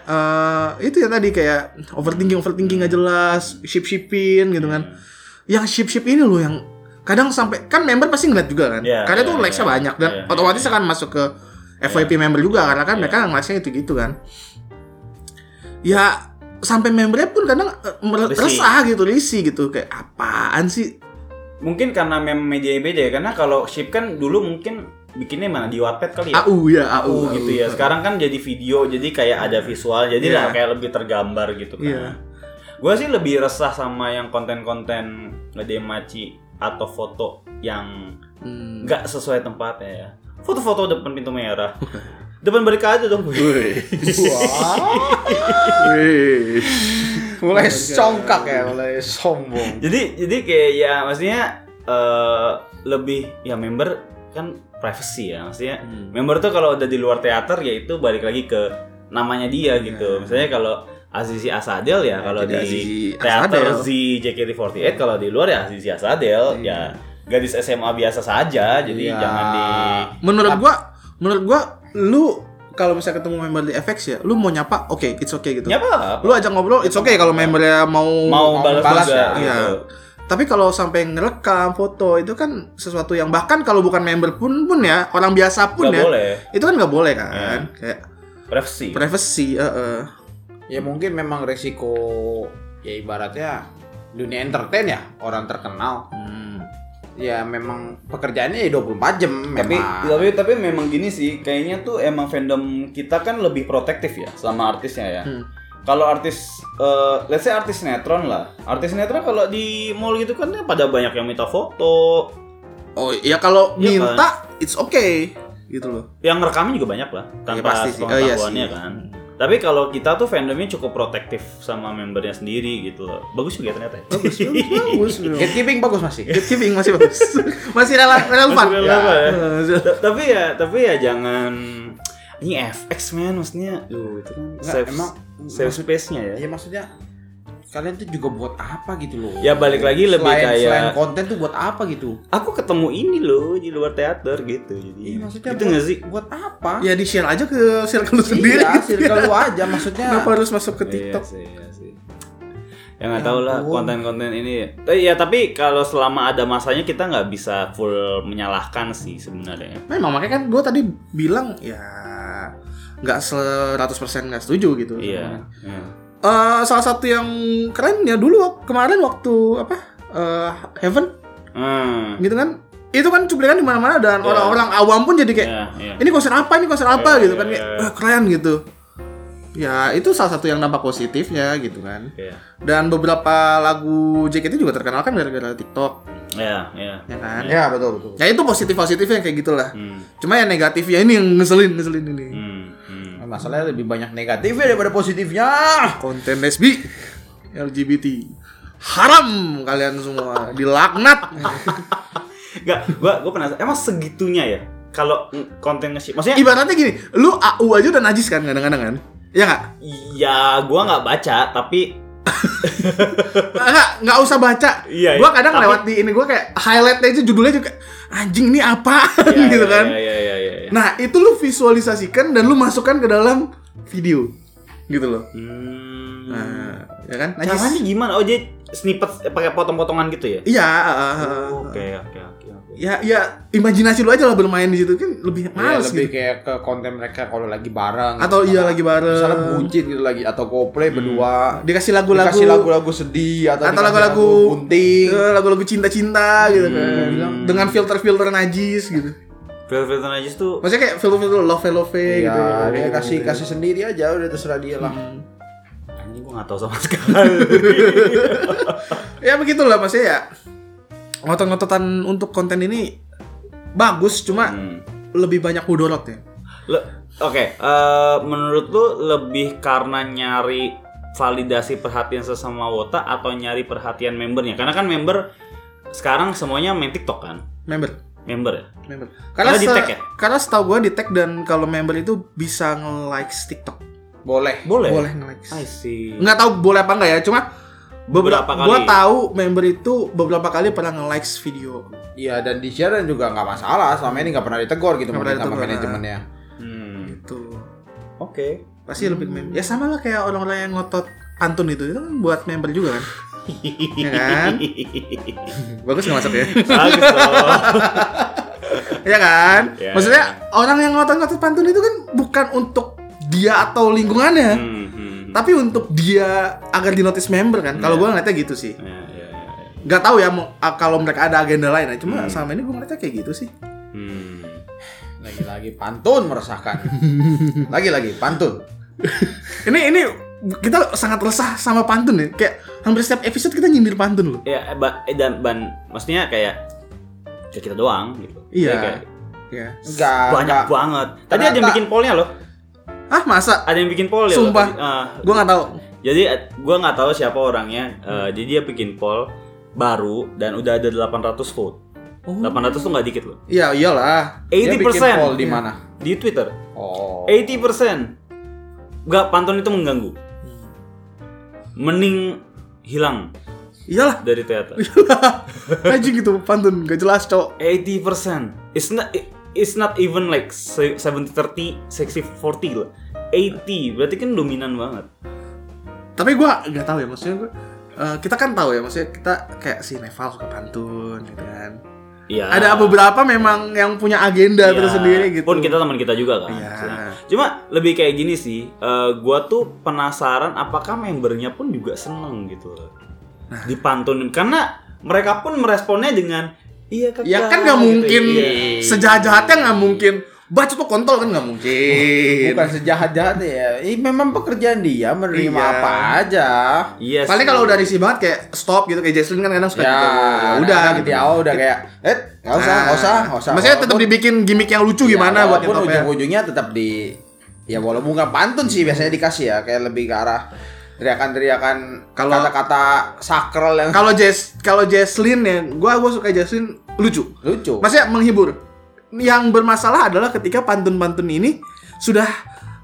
eh itu yang tadi kayak overthinking overthinking nggak jelas ship shipin gitu kan Iya. yang ship ship ini loh yang kadang sampai kan member pasti ngeliat juga kan Iya, karena itu iya, likes-nya iya. banyak dan Iya, iya, otomatis iya. akan masuk ke FYP member juga karena kan mereka ngelikesnya itu gitu kan ya sampai membernya pun kadang eh, mer- Risih. resah gitu risih gitu kayak apaan sih Mungkin karena memang media beda ya. Karena kalau ship kan dulu mungkin bikinnya mana di Wattpad kali ya. AU ya AU, Oh, gitu ya. Sekarang kan jadi video, jadi kayak ada visual, jadi Iya. lah kayak lebih tergambar gitu kan. Iya. Gue sih lebih resah sama yang konten-konten ngedemaci atau foto yang Hmm. nggak sesuai tempatnya ya. Foto-foto depan pintu merah. depan balik aja dong. Wih. mulai songkak ya, mulai sombong. jadi jadi kayak ya maksudnya eh, lebih ya member kan privacy ya maksudnya member tuh kalau udah di luar teater ya itu balik lagi ke namanya dia gitu misalnya kalau Azizi Asadel ya kalau di Iya. jadi Azizi teater Asadel. Z JKT48 kalau di luar ya Azizi Asadel Iya. ya gadis SMA biasa saja jadi Iya. jangan di Menurut gua, menurut gua lu kalau misalnya ketemu member di FX ya, lu mau nyapa, oke, it's okay gitu. nyapa lah Lu ajak ngobrol, it's okay kalau membernya mau Ya mau balas balas juga iya. ya, gitu Tapi kalau sampai ngerekam foto itu kan sesuatu yang bahkan kalau bukan member pun pun ya, orang biasa pun nggak ya. boleh Iya. Itu kan nggak boleh kan? Kayak privacy privacy, eh, eh. Ya mungkin memang resiko ya ibaratnya dunia entertain ya orang terkenal. Hmm. Ya memang pekerjaannya ya 24 jam tapi ya, memang. tapi tapi memang gini sih kayaknya tuh emang fandom kita kan lebih protektif ya sama artisnya ya Hmm. kalau artis eh, let's say artis netron lah artis netron kalau di mall gitu kan ya pada banyak yang minta foto Oh, ya kalau Iya, minta it's okay gitu loh. yang rekamnya juga banyak lah Ya, tanpa pasti sih. Oh, iya pengetahuannya sih. kan tapi kalau kita tuh fandomnya cukup protektif sama membernya sendiri gitu loh bagus juga ternyata ya. Bagus, bagus, bagus. Gatekeeping bagus masih. Gatekeeping masih bagus. masih rela- relevan. Maksudnya Ya. apa ya? Eh, Ta- tapi ya tapi ya jangan ini FX man maksudnya Duh, itu kan Nggak, safe, emang- safe space-nya ya Ya maksudnya kalian tuh juga buat apa gitu loh. Ya, balik lagi lebih selain, kayak- selain konten tuh buat apa gitu. aku ketemu ini loh di luar teater gitu jadi Iya maksudnya itu buat, nggak sih buat apa? ya di share aja ke circle lu sendiri. Iya, gitu ya. circle lu aja maksudnya. Kenapa harus masuk ke Iya TikTok? sih, iya sih. ya nggak tahu lah ampun. konten-konten ini Eh, ya tapi kalau selama ada masanya kita nggak bisa full menyalahkan sih sebenarnya Memang makanya kan gue tadi bilang ya nggak 100% nggak setuju gitu. iya iya. Eh, salah satu yang keren ya dulu wak- kemarin waktu apa eh, Heaven hmm. gitu kan itu kan cuplikan di mana-mana dan orang-orang awam pun jadi kayak Iya, iya. ini konser apa ini konser apa Iya, gitu kan iya, kayak iya. "Wah, keren gitu ya itu salah satu yang dampak positifnya gitu kan Iya. dan beberapa lagu JKT juga terkenal kan gara-gara TikTok Iya, iya. ya kan Ya betul betul. ya itu positif positifnya kayak gitulah Hmm. cuma yang negatifnya ini yang ngeselin ngeselin ini Hmm. hmm. Masalahnya lebih banyak negatifnya daripada positifnya. konten lesbi LGBT haram kalian semua dilaknat Enggak, gua gua penasaran. Emang segitunya ya kalau mm, konten nge Maksudnya ibaratnya gini lu AU aja udah najis kan kadang-kadang kan ya nggak ya gua nggak baca tapi nggak nggak usah baca Iya, gua iya. kadang Tapi- lewat di ini gua kayak highlight aja judulnya juga anjing ini apa ya, gitu ya, kan Ya ya ya ya. ya. nah itu lu visualisasikan dan lu masukkan ke dalam video gitu loh Hmm. nah, ya kan najis Caranya gimana? Oh, jadi snippet eh, pakai potong-potongan gitu ya? iya ah, ah, ah. Oke, oke, oke, oke. ya ya imajinasi lu aja lah bermain di situ kan lebih males Ya, Iya, lebih gitu kayak ke konten mereka kalau lagi bareng. atau iya lagi misalnya bareng bucin gitu lagi atau goplay berdua. dikasih Dikasih Hmm. lagu-lagu lagu-lagu sedih atau, atau dikasih lagu-lagu bunting. Hmm. eh, lagu-lagu cinta-cinta gitu kan dengan filter-filter najis gitu Velvet Najis tuh maksudnya kayak filter-filter love love Iya, gitu dia kasih kasih sendiri Eh, aja udah terserah dia lah. anjing gua nggak tahu sama sekali. ya begitulah maksudnya ya ngotot-ngototan untuk konten ini bagus cuma Hmm. lebih banyak ya, mudorotnya Le- Oke, eh, menurut lu lebih karena nyari validasi perhatian sesama wota atau nyari perhatian membernya? Karena kan member sekarang semuanya main TikTok kan, member member ya. member karena Karena di se- tag ya? karena setahu gue di tag dan kalau member itu bisa nge-likes TikTok Boleh. Boleh. boleh nge-likes I see. nggak tahu boleh apa enggak ya cuma beberapa Beberapa gue kali. tahu member itu beberapa kali pernah nge-likes video Iya dan di share juga nggak masalah. Selama ini nggak pernah ditegor gitu Nggak mungkin pernah eh. sama ditegur. manajemennya. Hmm. gitu Oke. pasti lebih ke member ya sama lah kayak orang-orang yang ngotot pantun itu itu kan buat member juga kan ya kan bagus nggak masuk ya Bagus loh. ya kan Ya, maksudnya orang yang ngotot-ngotot pantun itu kan bukan untuk dia atau lingkungannya Hmm, hmm. tapi untuk dia agar di notice member kan kalau gue ngeliatnya gitu sih Ya, ya, ya, ya. nggak tahu ya mau- ah, kalau mereka ada agenda lain cuma selama ini gue ngeliatnya kayak gitu sih Hmm. Lagi-lagi pantun meresahkan. Lagi-lagi pantun. ini ini kita sangat resah sama pantun ya kayak hampir setiap episode kita nyindir pantun loh Ya, eh, ba- eh, dan ban, maksudnya kayak kayak kita doang gitu. Iya. Kayak- ya Enggak. banyak enggak. banget. Tadi ada yang Ternyata- bikin pollnya loh. ah masa Ada yang bikin poll ya. Sumpah. loh tadi. Ah, gue nggak tahu jadi eh, gua nggak tahu siapa orangnya. Eh, Hmm. Jadi dia bikin poll baru dan udah ada 800 vote. Oh. 800 tuh nggak dikit loh. iya iyalah Dia bikin poll 80% di mana? Iya. di Twitter. Oh. 80%. Enggak pantun itu mengganggu. Hmm. Mending hilang iyalah dari teater. anjing gitu pantun gak jelas cowok 80%. It's not it's not even like se- 70 30 60 40 loh. 80 berarti kan dominan banget. tapi gue nggak tahu ya maksudnya gue kita kan tahu ya maksudnya kita kayak si Neval suka pantun gitu kan Iya. ada beberapa memang yang punya Iya, agenda tersendiri gitu Pun kita teman kita juga kan. Iya. maksudnya. Cuma lebih kayak gini sih, eh, gua tuh penasaran apakah membernya pun juga seneng gitu. Nah. Dipantunin karena mereka pun meresponnya dengan iya kakak. ya kan nggak gitu. mungkin Iya. sejahat-jahatnya nggak mungkin baca tuh kontol kan nggak mungkin Bukan sejahat-jahatnya ya. Ini memang pekerjaan dia menerima Iya. apa aja. Iya. sih. paling kalau udah risih banget kayak stop gitu kayak Jaslyn kan kadang suka Ya, gitu ya udah kadang-kadang gitu Nah. di awal udah kayak, eh, nggak usah, nggak usah, nggak usah. maksudnya tetap Walaupun- dibikin gimmick yang lucu ya, gimana buat walaupun nyetop ya ujung-ujungnya tetap di ya walaupun bukan pantun sih biasanya dikasih ya kayak lebih ke arah teriakan-teriakan Kalau- kata-kata sakral yang kalau Jas kalau Jaslyn ya gua gua suka Jaslyn lucu lucu. maksudnya menghibur yang bermasalah adalah ketika pantun-pantun ini sudah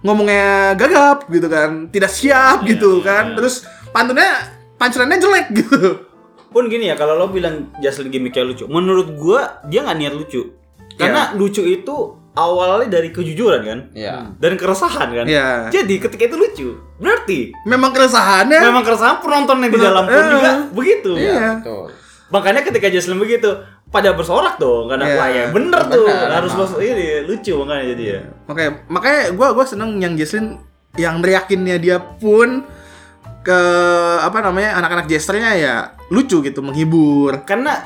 ngomongnya gagap gitu kan tidak siap Iya, gitu kan terus pantunnya pancurannya jelek gitu pun gini ya kalau lo bilang Jaslyn gimmicknya lucu, menurut gua dia nggak niat lucu. Iya. Karena lucu itu awalnya dari kejujuran kan. Iya. Dan keresahan kan. Iya. Jadi ketika itu lucu, berarti memang keresahannya memang keresahan penontonnya di dalam pun Eh. juga begitu. Iya. Betul. Makanya ketika Jaslyn begitu, pada bersorak dong karena Iya. wah ya bener tuh Bener, harus lo emang. ini lucu makanya jadi ya. Oke, makanya gua gua seneng yang Jaslyn yang neriakinnya dia pun ke apa namanya anak-anak jesternya ya lucu gitu menghibur. Karena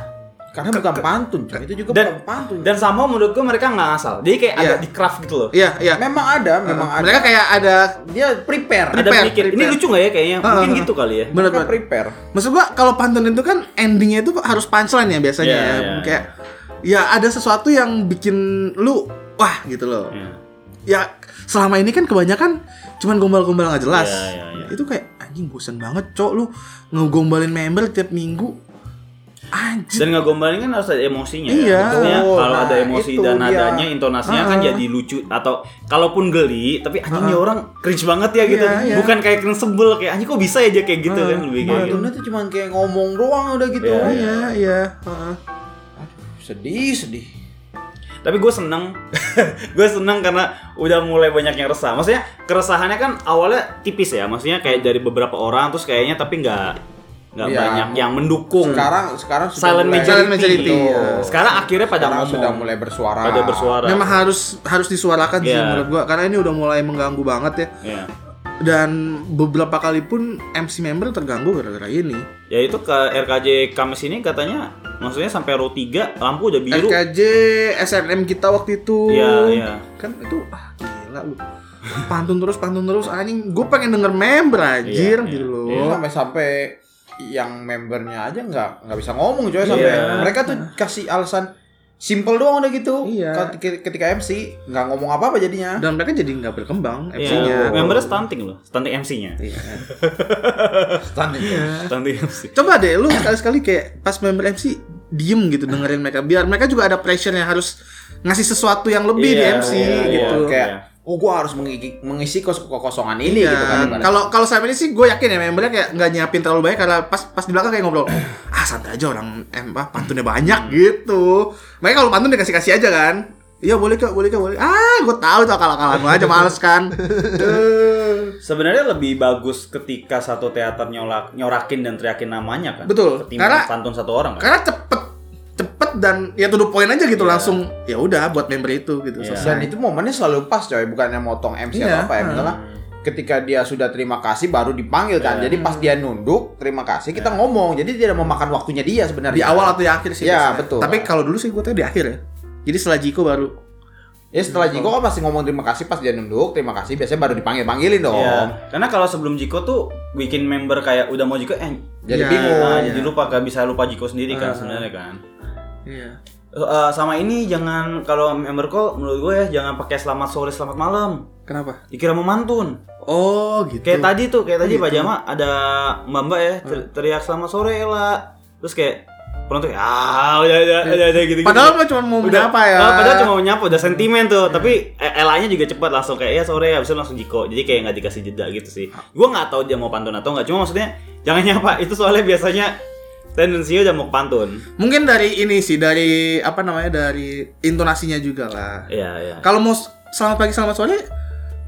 Karena bukan pantun, cuy. Itu juga bukan dan pantun. dan sama menurut gue mereka nggak ngasal jadi kayak Iya. ada di craft gitu loh Iya, iya. Memang ada, memang ada. Mereka kayak ada dia prepare. ada prepare, mikir ini prepare. lucu nggak ya kayaknya mungkin ah, ah. gitu kali ya bener Mereka bener. prepare. Maksud gua kalau pantun itu kan endingnya itu harus punchline ya biasanya Iya, ya. iya, kayak ya ada sesuatu yang bikin lu wah gitu loh. Iya. Ya selama ini kan kebanyakan cuman gombal-gombal nggak jelas. Iya, iya, iya. Itu kayak anjing bosan banget, Cok, lu ngegombalin member tiap minggu. Anjing. dan nggak gombalin kan harus ada emosinya Iya. ya. maksudnya Oh, kalau ada nah, emosi itu dan dia. nadanya intonasinya kan jadi lucu atau kalaupun geli tapi anjingnya orang cringe banget ya gitu Iya, iya. bukan kayak cringe sebel kayak anjing kok bisa ya dia kayak gitu kan lebih kayak gitu Pantunnya tuh cuma kayak ngomong doang udah gitu. Iya, iya. Iya, iya. Heeh. Sedih, sedih. tapi gue seneng gue seneng karena udah mulai banyak yang resah maksudnya keresahannya kan awalnya tipis ya maksudnya kayak dari beberapa orang terus kayaknya tapi nggak nggak Iya. banyak yang mendukung Sekarang sekarang sudah silent mulai- majority, Silent majority, Betul. iya. sekarang akhirnya pada Sekarang ngomong sudah mulai bersuara. pada bersuara Memang harus harus disuarakan sih Iya. menurut gua karena ini udah mulai mengganggu banget ya. ya. Dan beberapa kali pun MC member terganggu gara-gara ini. ya itu ke RKJ Kamis ini katanya maksudnya sampai row 3 lampu udah biru SKJ, SNM kita waktu itu. Iya, iya. Kan itu ah gila lu. Pantun terus, pantun terus anjing. Gue pengen denger member anjir Iya, gitu iya, loh. iya. sampai sampai yang membernya aja nggak nggak bisa ngomong coy sampai Iya. mereka tuh kasih alasan simple doang udah gitu Iya. ketika, ketika MC nggak ngomong apa apa jadinya Dan mereka jadi nggak berkembang ya, MC-nya. membernya stunting loh stunting MC-nya Stunning. Iya. stunting MC Coba deh lu sekali-sekali kayak pas member MC diem gitu dengerin mereka biar mereka juga ada pressure yang harus ngasih sesuatu yang Iya, lebih di MC iya, gitu. iya. kayak oh gua harus mengisi, mengisi kos kekosongan ini Iya, gitu kan ibaratnya. kalau kalau selama ini sih gue yakin ya membernya kayak nggak nyiapin terlalu banyak karena pas pas di belakang kayak ngobrol ah santai aja orang em apa pantunnya banyak gitu makanya kalau pantun dikasih kasih aja kan iya boleh kak boleh kak boleh ah gue tahu tuh akal akalan gue aja males kan sebenarnya lebih bagus ketika satu teater nyolak nyorakin dan teriakin namanya kan Betul. ketimbang Karena- pantun satu orang kan karena cepet cepet dan ya tuh poin aja gitu langsung ya udah buat member itu gitu Iya. dan selesai itu momennya selalu pas coy bukannya motong MC Iya, atau apa ya misalnya ketika dia sudah terima kasih baru dipanggil kan Iya. jadi pas dia nunduk terima kasih kita ngomong jadi dia mau makan waktunya dia sebenarnya di awal atau di akhir sih Iya, biasanya. betul. tapi kalau dulu sih gue tuh di akhir ya jadi setelah Jiko baru Ya setelah Iya. Jiko kan pasti ngomong terima kasih pas dia nunduk, terima kasih biasanya baru dipanggil-panggilin dong. Iya. karena kalau sebelum Jiko tuh bikin member kayak udah mau Jiko eh Iya. Jadi bingung. nah, iya. jadi lupa gak bisa lupa Jiko sendiri kan sebenarnya kan iya Eh, eh, sama ini jangan kalau member call menurut gue ya jangan pakai selamat sore selamat malam kenapa dikira mau mantun oh Hmm. gitu Kayak tadi tuh, kayak tadi Pak Jama ada Mbak Mbak ya ter- teriak selamat sore Ella. Terus kayak penonton kayak ah udah udah udah, udah gitu. Iya. Padahal mah cuma mau menyapa ya. Iya. Ah, padahal cuma mau nyapa udah sentimen tuh, tapi eh, Ella-nya juga cepat langsung kayak ya sore habis itu langsung jiko. Jadi kayak nggak dikasih jeda gitu sih. Gua nggak tahu dia mau pantun atau nggak, cuma maksudnya jangan nyapa. Itu soalnya biasanya tendensinya udah mau ke pantun. Mungkin dari ini sih, dari apa namanya, dari intonasinya juga lah. Iya, iya. Kalau mau s- selamat pagi, selamat sore,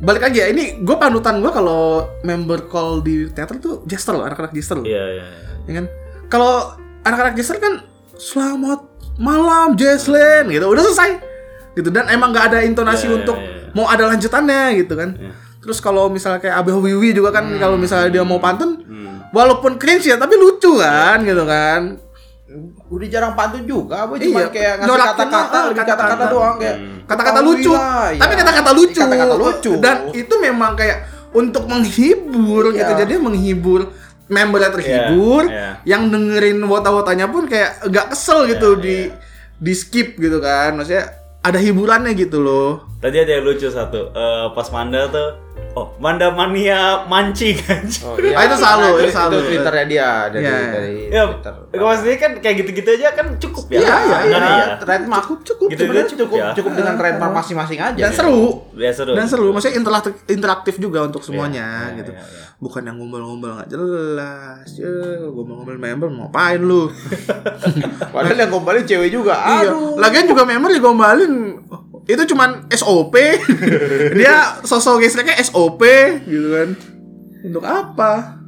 balik lagi ya. Ini gue panutan gue kalau member call di teater tuh jester loh, anak-anak jester loh. Iya, iya. iya. Ya kan? Kalau anak-anak jester kan selamat malam Jesslyn gitu, udah selesai gitu dan emang nggak ada intonasi Iya, iya, untuk iya. mau ada lanjutannya gitu kan. Iya. Terus kalau misalnya kayak Abah Wiwi juga kan kalau misalnya dia mau pantun, Hmm. walaupun cringe ya tapi lucu kan gitu kan. Udah jarang pantun juga, apa cuma Iya, kayak ngasih nyorakin kata-kata, lah, lebih kata-kata. kata-kata doang kayak kata-kata lucu Alhamdulillah, tapi iya. kata-kata lucu Kata-kata lucu. dan itu memang kayak untuk menghibur Iya. gitu jadi menghibur membernya terhibur Iya, yang dengerin wota-wotanya pun kayak gak kesel Iya, gitu di di skip gitu kan maksudnya ada hiburannya gitu loh Tadi ada yang lucu satu, eh, pas Manda tuh, oh Manda mania mancing anjing. Oh, Ah, itu selalu, itu selalu. Itu Twitternya dia dari Iya. dari Ya, Twitter. Nah, maksudnya kan kayak gitu-gitu aja kan cukup ya. Iya, iya, Benar iya. ya? Trademark Cukup, cukup. Gitu Sebenarnya aja cukup, cukup ya. cukup dengan trademark masing-masing aja. dan seru Biasa dong. dan seru maksudnya interaktif interaktif juga untuk semuanya iya, gitu iya, iya. bukan yang gombal-gombal nggak jelas ya gombal-gombal member mau ngapain lu Padahal yang ngombalin cewek juga. Iya. Aduh. Lagian juga member digombalin itu cuman SOP. Dia sosok gesreknya SOP gitu kan. Untuk apa?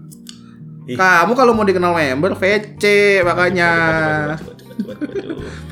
Ih. Kamu kalau mau dikenal member VC makanya. Coba, coba, coba, coba,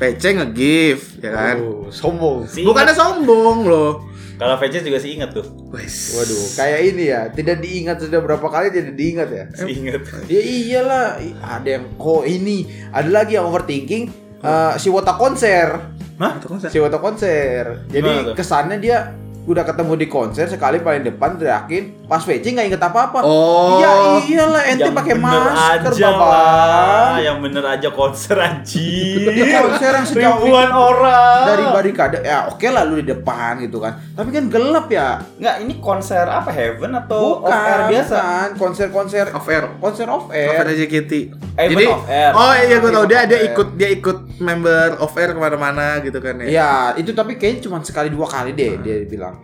coba. VC nge-gift ya kan. Aduh, sombong. Si Bukannya ingat. sombong loh. Kalau Vegas juga sih ingat tuh. Wes. Waduh, kayak ini ya, tidak diingat sudah berapa kali tidak diingat ya. Si ingat. Ya iyalah, i- ada yang oh ini, ada lagi yang overthinking. eh, si Wota konser. Hah? Si Wota konser. Jadi Gimana tuh? kesannya dia udah ketemu di konser sekali paling depan teriakin pas Peci nggak inget apa apa Oh. iya iyalah ente Yang pakai bener masker aja Ya. bapak lah. Yang bener aja konser anjing. Konser yang sejauh ribuan orang. dari barikade ya oke lah lu di depan gitu kan tapi kan gelap ya Nggak, ini konser apa Heaven atau Oh, bukan off air biasa? bukan. konser konser Off air. konser Off off air air aja Kitty. Eh, Jadi bukan off air. oh iya gue tau dia Off dia air. ikut dia ikut member off air kemana-mana gitu kan ya. ya itu tapi kayaknya cuma sekali dua kali deh dia bilang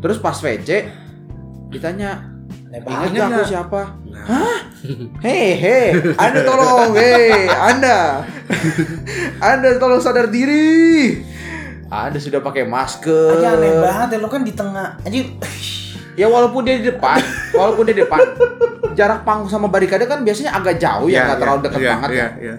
terus pas VC ditanya Nah, Ingat ingat nggak aku nggak?" siapa Nah. hah hehe anda tolong hei anda anda tolong sadar diri anda sudah pakai masker Aja aneh banget ya, lo kan di tengah Anjing Ya walaupun dia di depan, walaupun dia di depan, jarak panggung sama barikade kan biasanya agak jauh ya, nggak terlalu dekat iya, banget iya, ya. iya.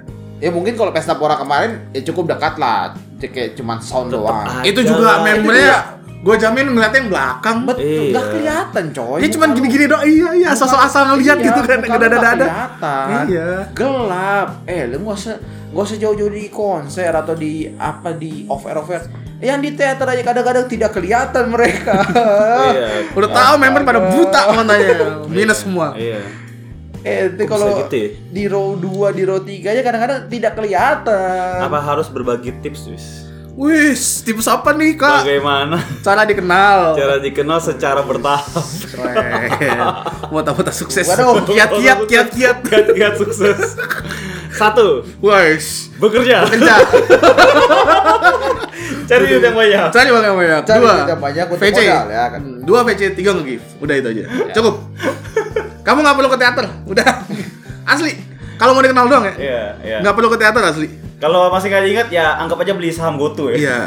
Ya mungkin kalau pesta pora kemarin ya cukup dekat lah, Jadi kayak cuman sound doang. Itu Ada juga lah. membernya gue jamin ngeliatnya yang belakang. Betul, nggak Iya. kelihatan coy. Dia Muka cuman lu- gini-gini doang. Iya iya, muka- sosok asal ngeliat Oh, iya, gitu kan, muka lu nggak dada-dada. kelihatan. Iya. Gelap. Eh, lu nggak usah nggak usah jauh-jauh di konser atau di apa di off air off air. Yang di teater aja kadang-kadang tidak kelihatan mereka. Iya. Udah tahu member pada buta Iya. matanya, minus semua. Iya. Eh, Kok bisa nanti kalau gitu ya? di row 2, di row 3 aja kadang-kadang tidak kelihatan. Apa harus berbagi tips, Wis? Wis, tipes apa nih kak? Bagaimana Cara dikenal. cara dikenal secara bertahap? Keren. Mata-mata sukses. Waduh. Oh, Kiat-kiat, kiat-kiat. Kiat-kiat sukses. Satu, Wis. bekerja. Kerja. Cari duit yang banyak. Cari banyak banyak. Cari Dua. duit yang banyak untuk VC. modal ya kan. Ya. Hmm, Dua VC, tiga nge-gift. Udah itu aja. Cukup. Kamu nggak perlu ke teater. Udah. Asli. Kalau mau dikenal doang ya. Iya, iya. Nggak perlu ke teater asli. Kalau masih nggak ingat ya anggap aja beli saham GoTo ya. Iya.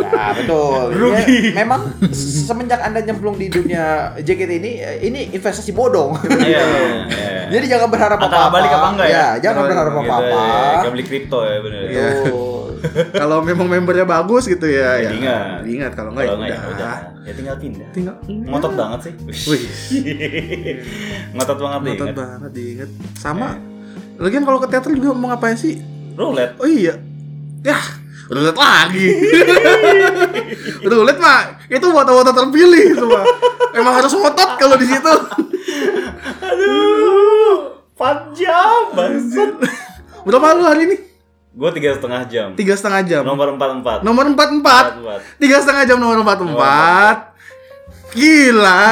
Nah, betul. Rugi. Ya, memang semenjak Anda nyemplung di dunia JKT ini, eh, ini investasi bodong. Iya. Jadi jangan berharap Atau apa-apa. balik apa enggak ya? jangan Kalau berharap Gitu, apa-apa. ya. Kayak beli kripto ya bener. Iya. Betul. Kalau memang membernya bagus gitu ya. ya. Diingat. Diingat kalau nggak ya ya udah. Ya tinggal pindah. Tinggal. Ngotot banget sih. Wih. Ngotot banget nih. kan. Ngotot banget diinget. Sama. Lagian kalau ke teater juga mau ngapain sih? Roulette. Oh iya. Yah, roulette lagi. roulette mah itu foto-foto terpilih semua. Emang harus ngotot kalau di situ. Aduh. 4 jam bangsat. Berapa lu hari ini? Gue tiga setengah jam. Tiga setengah jam. Nomor 44 Nomor empat empat. Empat-empat. Tiga setengah jam nomor empat empat. Gila,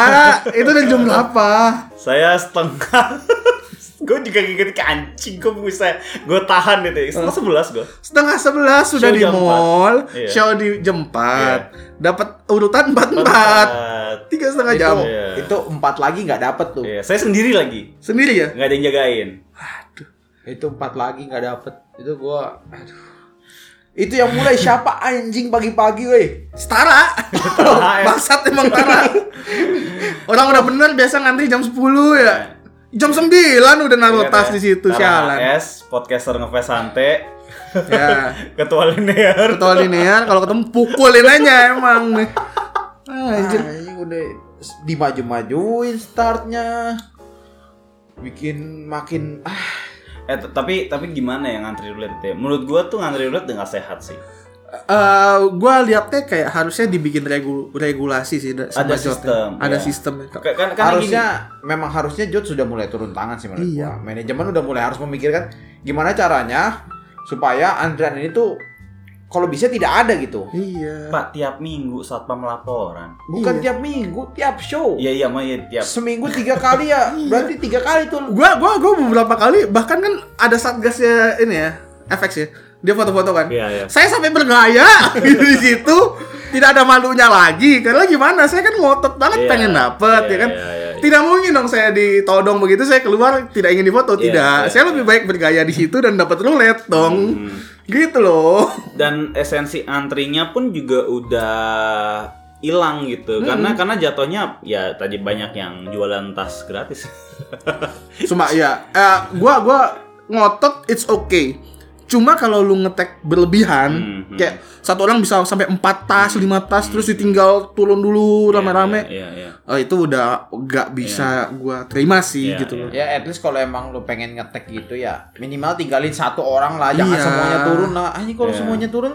itu dari jam berapa? Saya setengah. gue juga gigit kancing gue bisa gue tahan gitu Hmm. setelah sebelas gue Setengah sebelas sudah Show di jam empat. mall, Iya. show di jam empat, dapat urutan empat empat empat, tiga setengah Itu, jam Iya. itu empat lagi nggak dapet tuh. Iya, saya sendiri lagi sendiri ya. nggak ada yang jagain Itu empat lagi nggak dapet. Itu gua, aduh. Itu yang mulai siapa anjing pagi-pagi, weh? Setara. Setara, ya. Bangsat emang setara. Orang udah bener biasa ngantri jam 10 ya. Jam 9 udah naruh Ingat ya, tas Kan di situ Tara sialan. HS, podcaster ngefans santai, Ya. ketua linear. Ketua linear kalau ketemu pukulin aja emang nih. Anjir. Anjing udah dimaju-majuin startnya. Bikin makin ah Eh t- tapi tapi gimana ya ngantri roulette ya? Menurut gua tuh ngantri roulette nggak sehat sih. Eh, gua lihatnya kayak harusnya dibikin regu- regulasi sih da- sama Ada Jotnya. sistem, Ada ya. sistemnya. Ka- Kan kan harusnya memang harusnya Jod sudah mulai turun tangan sih menurut Iya. gua. Manajemen udah mulai harus memikirkan gimana caranya supaya antrian ini tuh kalau bisa tidak ada gitu. Iya. gini, Pak tiap minggu satpam laporan. Iya. Bukan tiap minggu, tiap show. Iya iya mah iya tiap. Seminggu tiga kali ya, berarti tiga kali tuh. Gua gua gua beberapa kali bahkan kan ada satgasnya ini ya, FX ya. Dia foto-foto kan. Iya, iya. Saya sampai bergaya gitu di situ. Tidak ada malunya lagi. Karena gimana? Saya kan ngotot banget Iya. pengen dapet Iya, ya kan. iya, iya, iya. Tidak mungkin dong saya ditodong begitu saya keluar tidak ingin difoto, Iya, tidak. iya, saya lebih baik bergaya di situ dan dapat roulette dong. Hmm. Gitu loh. Dan esensi antrinya pun juga udah hilang Hmm. gitu karena karena jatuhnya ya tadi banyak yang jualan tas gratis iya. Cuma ya eh, gua gua ngotot it's okay. Cuma kalau lu ngetek berlebihan, Hmm, hmm. kayak satu orang bisa sampai 4 tas, 5 tas terus ditinggal turun dulu rame-rame. Iya, iya. Oh, itu udah gak bisa gua terima sih Iya, gitu iya. loh. Ya at least kalau emang lu pengen ngetek gitu ya minimal tinggalin satu orang lah jangan Iya. semuanya turun lah. Anjing kalau Iya. semuanya turun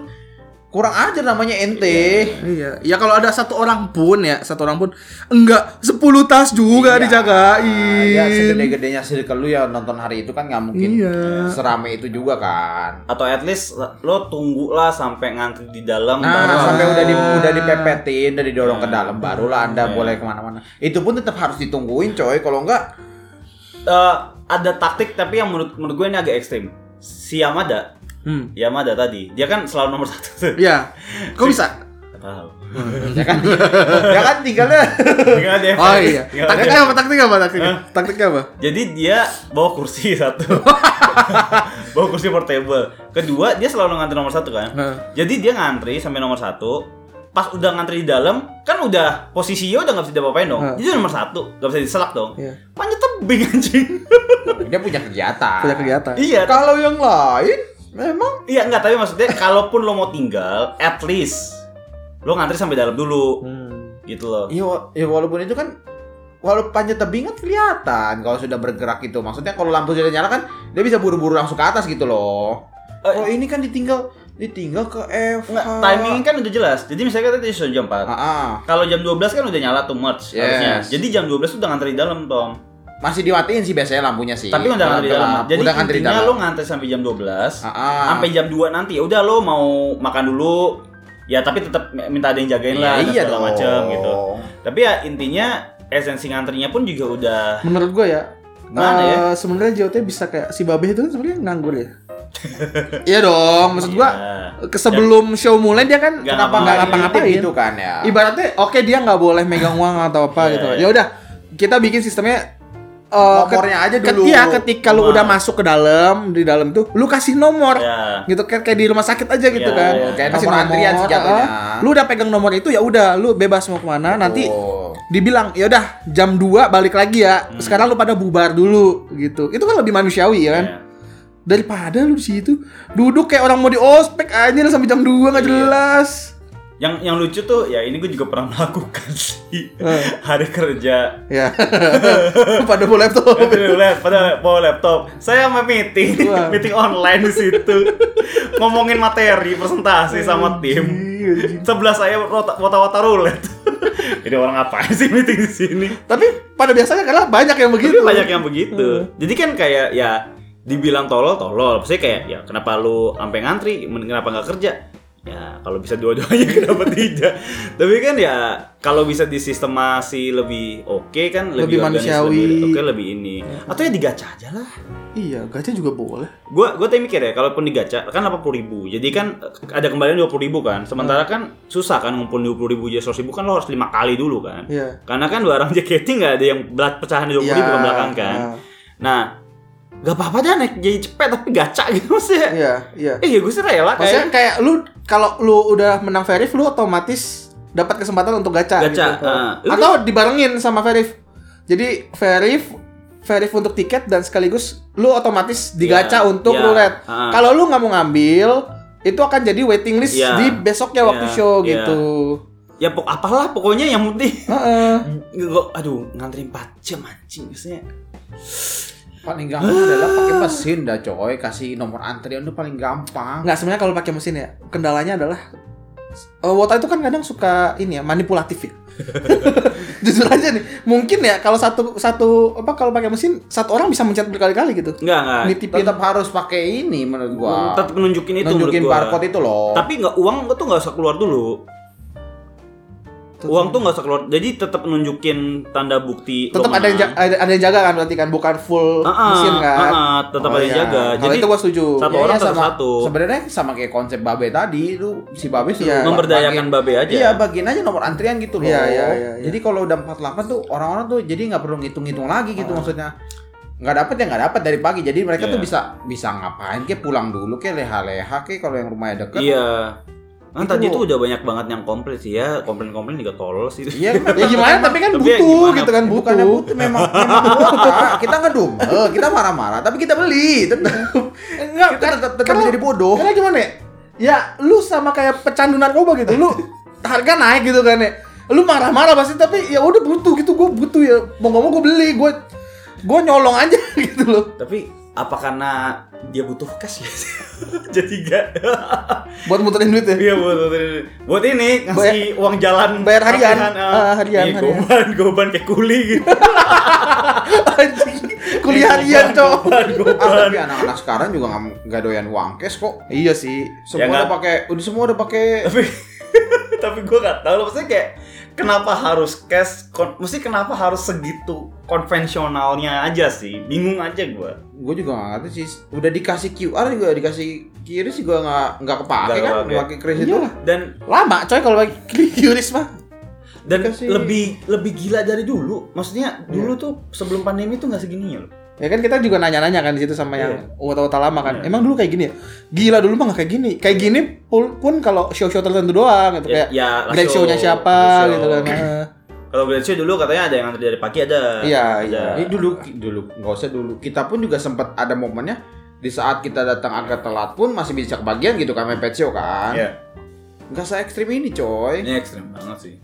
kurang aja namanya ente. Iya, ya kalau ada satu orang pun ya, satu orang pun enggak 10 tas juga Iya. dijagain. Iya, Ya segede-gedenya circle lu ya nonton hari itu kan nggak mungkin Iya. serame itu juga kan. Atau at least lo tunggulah sampai ngantri di dalam Ah, Nah, baru- sampai udah di, udah dipepetin, udah didorong Hmm. ke dalam, barulah Iya. anda boleh kemana-mana. Itu pun tetap harus ditungguin, coy. Kalau enggak, Eh, ada taktik tapi yang menurut menurut gue ini agak ekstrim. Si Yamada, Hmm. Yamada tadi, dia kan selalu nomor satu. tuh. Iya. Kok bisa? Nggak Tahu. ya kan, ya kan tinggalnya. Nggak ada. Oh iya. Nggak ada. Taktiknya apa? Taktiknya apa? Taktiknya. Taktiknya apa? Jadi dia bawa kursi satu, bawa kursi portable. Kedua dia selalu ngantri nomor satu kan. Heeh. Jadi dia ngantri sampai nomor satu. Pas udah ngantri di dalam, kan udah posisinya udah nggak bisa diapa-apain dong. Heeh. Jadi nomor satu, nggak bisa diselak dong. Iya. Panjat tebing anjing. Dia punya kegiatan. Punya kegiatan. iya, Kalau yang lain, memang Iya enggak tapi maksudnya kalaupun lo mau tinggal, at least lo ngantri sampai dalam dulu gitu loh. ya, wa- ya walaupun itu kan walaupun panjat tebing kan kelihatan kalau sudah bergerak gitu. Maksudnya kalau lampu sudah nyala kan dia bisa buru-buru langsung ke atas gitu loh. Eh, Kalau ini kan ditinggal ditinggal ke F. Enggak, timing kan udah jelas. Jadi misalnya tadi sudah jam 4. Kalau jam 12 kan udah nyala tuh merch Ah. Yes. harusnya. Jadi jam 12 udah ngantri di dalam, Tom. Masih dimatiin sih biasanya lampunya sih. Tapi udah ngantri di dalam. Jadi udah ngantri intinya Iya. dalam. Ah, lo ngantri sampai jam 12. Ah-ah. Sampai jam 2 nanti. Ya udah lo mau makan dulu. Ya tapi tetap minta ada yang jagain lah dan iya segala dong. macem gitu. Tapi ya intinya esensi ngantrinya pun juga udah Menurut gua ya, Gimana ya? eh, sebenarnya JOT bisa kayak si Babe itu kan sebenarnya nganggur ya. iya dong, maksud Iya. gua Ya. ke sebelum show mulai dia kan Nggak kenapa nggak ngapa-ngapain. ngapa-ngapain gitu kan ya. Ibaratnya oke dia nggak boleh megang uang atau Iya, apa gitu. iya. Ya udah, kita bikin sistemnya eh, Nomornya aja ket- dulu. Nah. Iya, ketika lu Nomor. udah masuk ke dalam, di dalam tuh lu kasih nomor. Ya. Iya. Gitu kayak, kayak di rumah sakit aja gitu Iya, kan. iya. Kayak Kasih nomor antrian sih jatuhnya. ah. Lu udah pegang nomor itu ya udah, lu bebas mau kemana nanti Tuh. dibilang ya udah jam 2 balik lagi ya. Hmm. Sekarang lu pada bubar dulu gitu. Itu kan lebih manusiawi ya kan. Ya. Daripada lu di situ duduk kayak orang mau di ospek aja sampai jam Iya. 2 nggak jelas. Yang yang lucu tuh ya ini gue juga pernah melakukan sih hari kerja. Ya. pada mau laptop. Lihat pada bawa laptop. Saya mau meeting, Wah. meeting online di situ. Ngomongin materi, presentasi sama tim. Iya, Sebelah saya rota- wata-wata rulet. Jadi orang ngapain sih meeting di sini? Tapi pada biasanya karena banyak yang begitu. Tapi banyak yang begitu. Jadi kan kayak ya dibilang tolol tolol. Maksudnya kayak ya kenapa lu sampai ngantri? Men- Kenapa nggak kerja? Ya kalau bisa dua-duanya kenapa tidak? Tapi kan ya kalau bisa disistemasi lebih oke kan lebih, Lebih organis, manusiawi. lebih oke lebih ini. Atau ya digacha aja lah. Iya, gajah juga boleh. Gua gua tadi mikir ya kalaupun digacha kan 80.000 ribu. Jadi kan eh, ada kembalian 20.000 ribu kan. Hmm. Sementara kan susah kan ngumpulin 20.000 ribu aja 100.000 kan lo harus lima kali dulu kan. Iya. Karena kan barang JKT nggak ada yang berat pecahan dua puluh Iya. ke belakang kan. Ah. Nah, nggak apa-apa dah naik jadi cepet tapi gacha gitu maksudnya. Iya, iya. Eh ya gue sih rela Maksudnya kayak kayak lu kalau lu udah menang Verif lu otomatis dapat kesempatan untuk gacha, Gacha, gitu. ah. Atau dibarengin sama Verif. Jadi Verif Verif untuk tiket dan sekaligus lu otomatis digacha Iya, untuk iya, roulette. ah. Kalau lu nggak mau ngambil, itu akan jadi waiting list Iya, di besoknya waktu iya, show iya. gitu. ya pok apalah pokoknya yang penting. Heeh. Gue aduh ngantri 4 jam anjing maksudnya. Paling gampang adalah pakai mesin dah coy, kasih nomor antrian itu paling Ah. gampang. Nggak sebenarnya kalau pakai mesin ya kendalanya adalah eh, Wota itu kan kadang suka ini ya manipulatif ya. Jujur aja nih, mungkin ya kalau satu satu apa kalau pakai mesin satu orang bisa mencet berkali-kali gitu. Enggak enggak. Nitipin. Tetap harus pakai ini menurut gua. Tetap nunjukin itu Nunjukin menurut gua. barcode itu loh. Tapi nggak uang gua tuh nggak usah keluar dulu. Uang tuh nggak usah keluar. Jadi tetap nunjukin tanda bukti. lo Tetap ada yang menang. ja- ada, ada yang jaga kan berarti kan bukan full Ah, ah, mesin kan. ah, ah, tetap Oh, ada yang iya. jaga. Kalau itu gua setuju. Satu Ya, orang ya, tetap sama- satu. Sebenarnya sama kayak konsep babe tadi, lu si babe sudah Iya. Memberdayakan babe aja. Iya, bagiin aja nomor antrian gitu loh. Iya, iya, iya, iya. Jadi kalau udah 48 tuh orang-orang tuh jadi nggak perlu ngitung-ngitung lagi gitu Ah. maksudnya. Nggak dapat ya nggak dapat dari pagi. Jadi Iya. mereka tuh bisa bisa ngapain kayak pulang dulu kayak leha-leha kayak kalau yang rumahnya deket. Iya. Nah, Itu tadi loh. itu udah banyak banget yang komplain sih ya. Komplain-komplain juga tolol sih. Iya, Ya gimana tapi kan Tapi ya butuh gimana? gitu kan butuh. Bukannya Eh, butuh memang, memang butuh. Kita ngedumel, kita marah-marah, tapi kita beli. Tetep. enggak, Kita kan- tetap- tetap karena- menjadi Oh. bodoh. Karena gimana ya? Ya, lu sama kayak pecandu narkoba gitu. Lu harga naik gitu kan ya. Lu marah-marah pasti tapi ya udah butuh gitu. Gue butuh ya. Mau nggak mau gue beli. Gue gue nyolong aja gitu loh. Tapi apa karena dia butuh cash ya? Jadi gak. Buat muterin duit ya. Iya buat buat- buat ini ngasih uang jalan bayar harian. latihan, ah. Ah, harian, Iya, harian. goban goban kayak kuli gitu. Anjing. Kuliah harian, Goban, cowok. Goban. Ah, tapi anak-anak sekarang juga nggak- nggak doyan uang cash kok. Iya sih. Semua Ya, nggak- udah pakai, udah semua udah pakai. tapi tapi gue gak tahu loh maksudnya kayak kenapa harus cash kon- mesti kenapa harus segitu konvensionalnya aja sih bingung aja gue Gue juga nggak ngerti sih. Udah dikasih QR juga dikasih kiri sih gue nggak nggak kepake Nggak kan. kepake. Pakai kris itu. Iyalah. dan Lama coy kalau bagi Yuris mah. dan Dikasih- lebih lebih gila dari dulu maksudnya dulu tuh sebelum pandemi tuh nggak segininya loh Ya kan kita juga nanya-nanya kan di situ sama yang Iya. uta-uta lama kan. Iya. Emang dulu kayak gini ya? Gila dulu mah gak kayak gini. Kayak gini pun, pun kalau show-show tertentu doang gitu Ya- kayak ya, grand show, show-nya siapa grand show. gitu kan. Heeh. kalau Grand Show dulu katanya ada yang antri dari pagi ada Iya, ada. Ini dulu dulu nggak usah dulu. Kita pun juga sempat ada momennya di saat kita datang agak telat pun masih bisa kebagian gitu kan main pet show kan. Iya. Nggak se ekstrim ini coy. ini ekstrim banget sih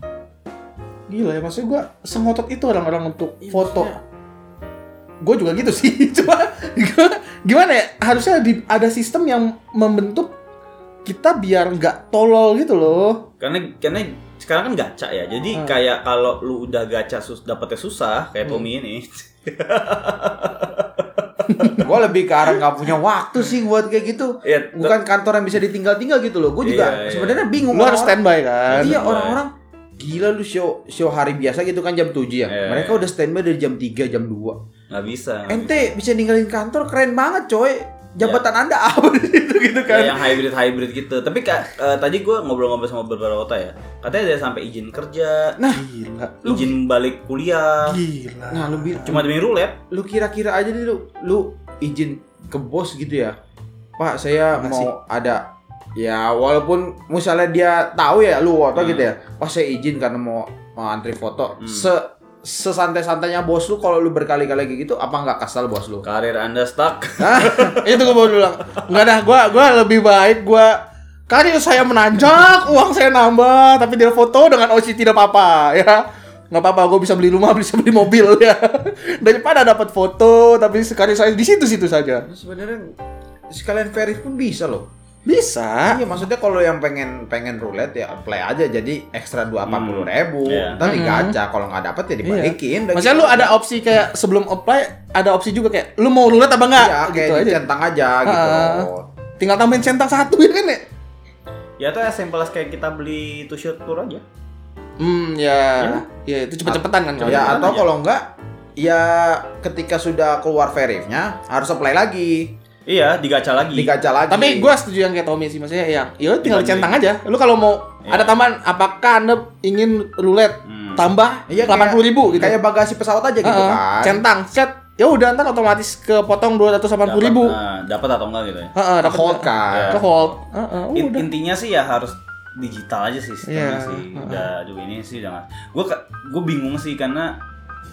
Gila ya maksud gua sengotot itu orang-orang untuk Iya, foto. Gue juga gitu sih. Cuma gua- gimana ya? Harusnya di- ada sistem yang membentuk kita biar nggak tolol gitu loh. karena karena sekarang kan gacha ya jadi Hmm. kayak kalau lu udah gacha sus dapetnya susah kayak Tommy ini gue lebih ke arah nggak punya waktu sih buat kayak gitu. Iya, t- Bukan kantor yang bisa ditinggal-tinggal gitu loh. Gue juga Iya, iya. sebenarnya bingung. Lu harus orang-orang- standby kan. Iya Standby. orang-orang gila lu show show hari biasa gitu kan jam 7 ya. Iya. Mereka udah standby dari jam 3 jam 2. nggak bisa Ente bisa ninggalin kantor keren banget coy. Iya. Jabatan Anda apa di situ Ya, gitu kan. yang hybrid hybrid gitu tapi ka- eh, tadi gue ngobrol-ngobrol sama beberapa otak ya katanya ada yang sampai izin kerja Nah, Gila. izin balik kuliah Gila. nah lu bi- cuma demi roulette lu kira-kira aja nih lu lu izin ke bos gitu ya. Pak, saya Makasih. mau ada ya walaupun misalnya dia tahu ya lu foto Hmm. gitu ya. Pak saya izin karena mau, mau antri foto. Hmm. Se sesantai-santainya bos lu kalau lu berkali-kali kayak gitu apa nggak kasal bos lu? karir anda stuck itu gue mau bilang nggak dah gue gue lebih baik gue karir saya menanjak uang saya nambah tapi dia foto dengan OC tidak apa-apa ya nggak apa-apa gue bisa beli rumah bisa beli mobil ya daripada dapat foto tapi karir saya di situ-situ saja Sebenarnya sekalian verif pun bisa loh. bisa Iya maksudnya kalau yang pengen pengen roulette ya play aja jadi ekstra dua Hmm. puluh ribu. Iya. Tapi Hmm. gacha kalau nggak dapet ya dibalikin. Iya. Udah Maksudnya gitu. lu ada opsi kayak sebelum apply ada opsi juga kayak lu mau roulette apa enggak Iya, kayak gitu aja. dicentang aja gitu. Ah. Tinggal tambahin centang satu ya kan ya. ya tuh as simple as kayak kita beli two shot tour aja Hmm ya. Ya itu cepet-cepetan kan. ya kalau- Jangan atau aja. kalau enggak ya ketika sudah keluar verifnya harus apply lagi, iya digacha lagi digacha lagi. Hmm. Tapi gue setuju yang kayak Tommy sih maksudnya yang ya udah tinggal Iya, Dibanding. centang aja. Lu kalau mau Iya. ada tambahan apakah Anda ingin roulette Hmm. tambah Iya, delapan puluh ribu gitu. Ah, kayak bagasi pesawat aja gitu Heeh, kan. Centang set ya udah ntar otomatis kepotong dua ratus delapan puluh Dapat- ribu. nah, dapat atau enggak gitu ya Heeh, Ke dapat hold kan. Ke hold. Heeh, In- Oh, udah. intinya sih ya harus digital aja sih sistemnya Iya. sih udah aduh ini sih udah gue gue bingung sih karena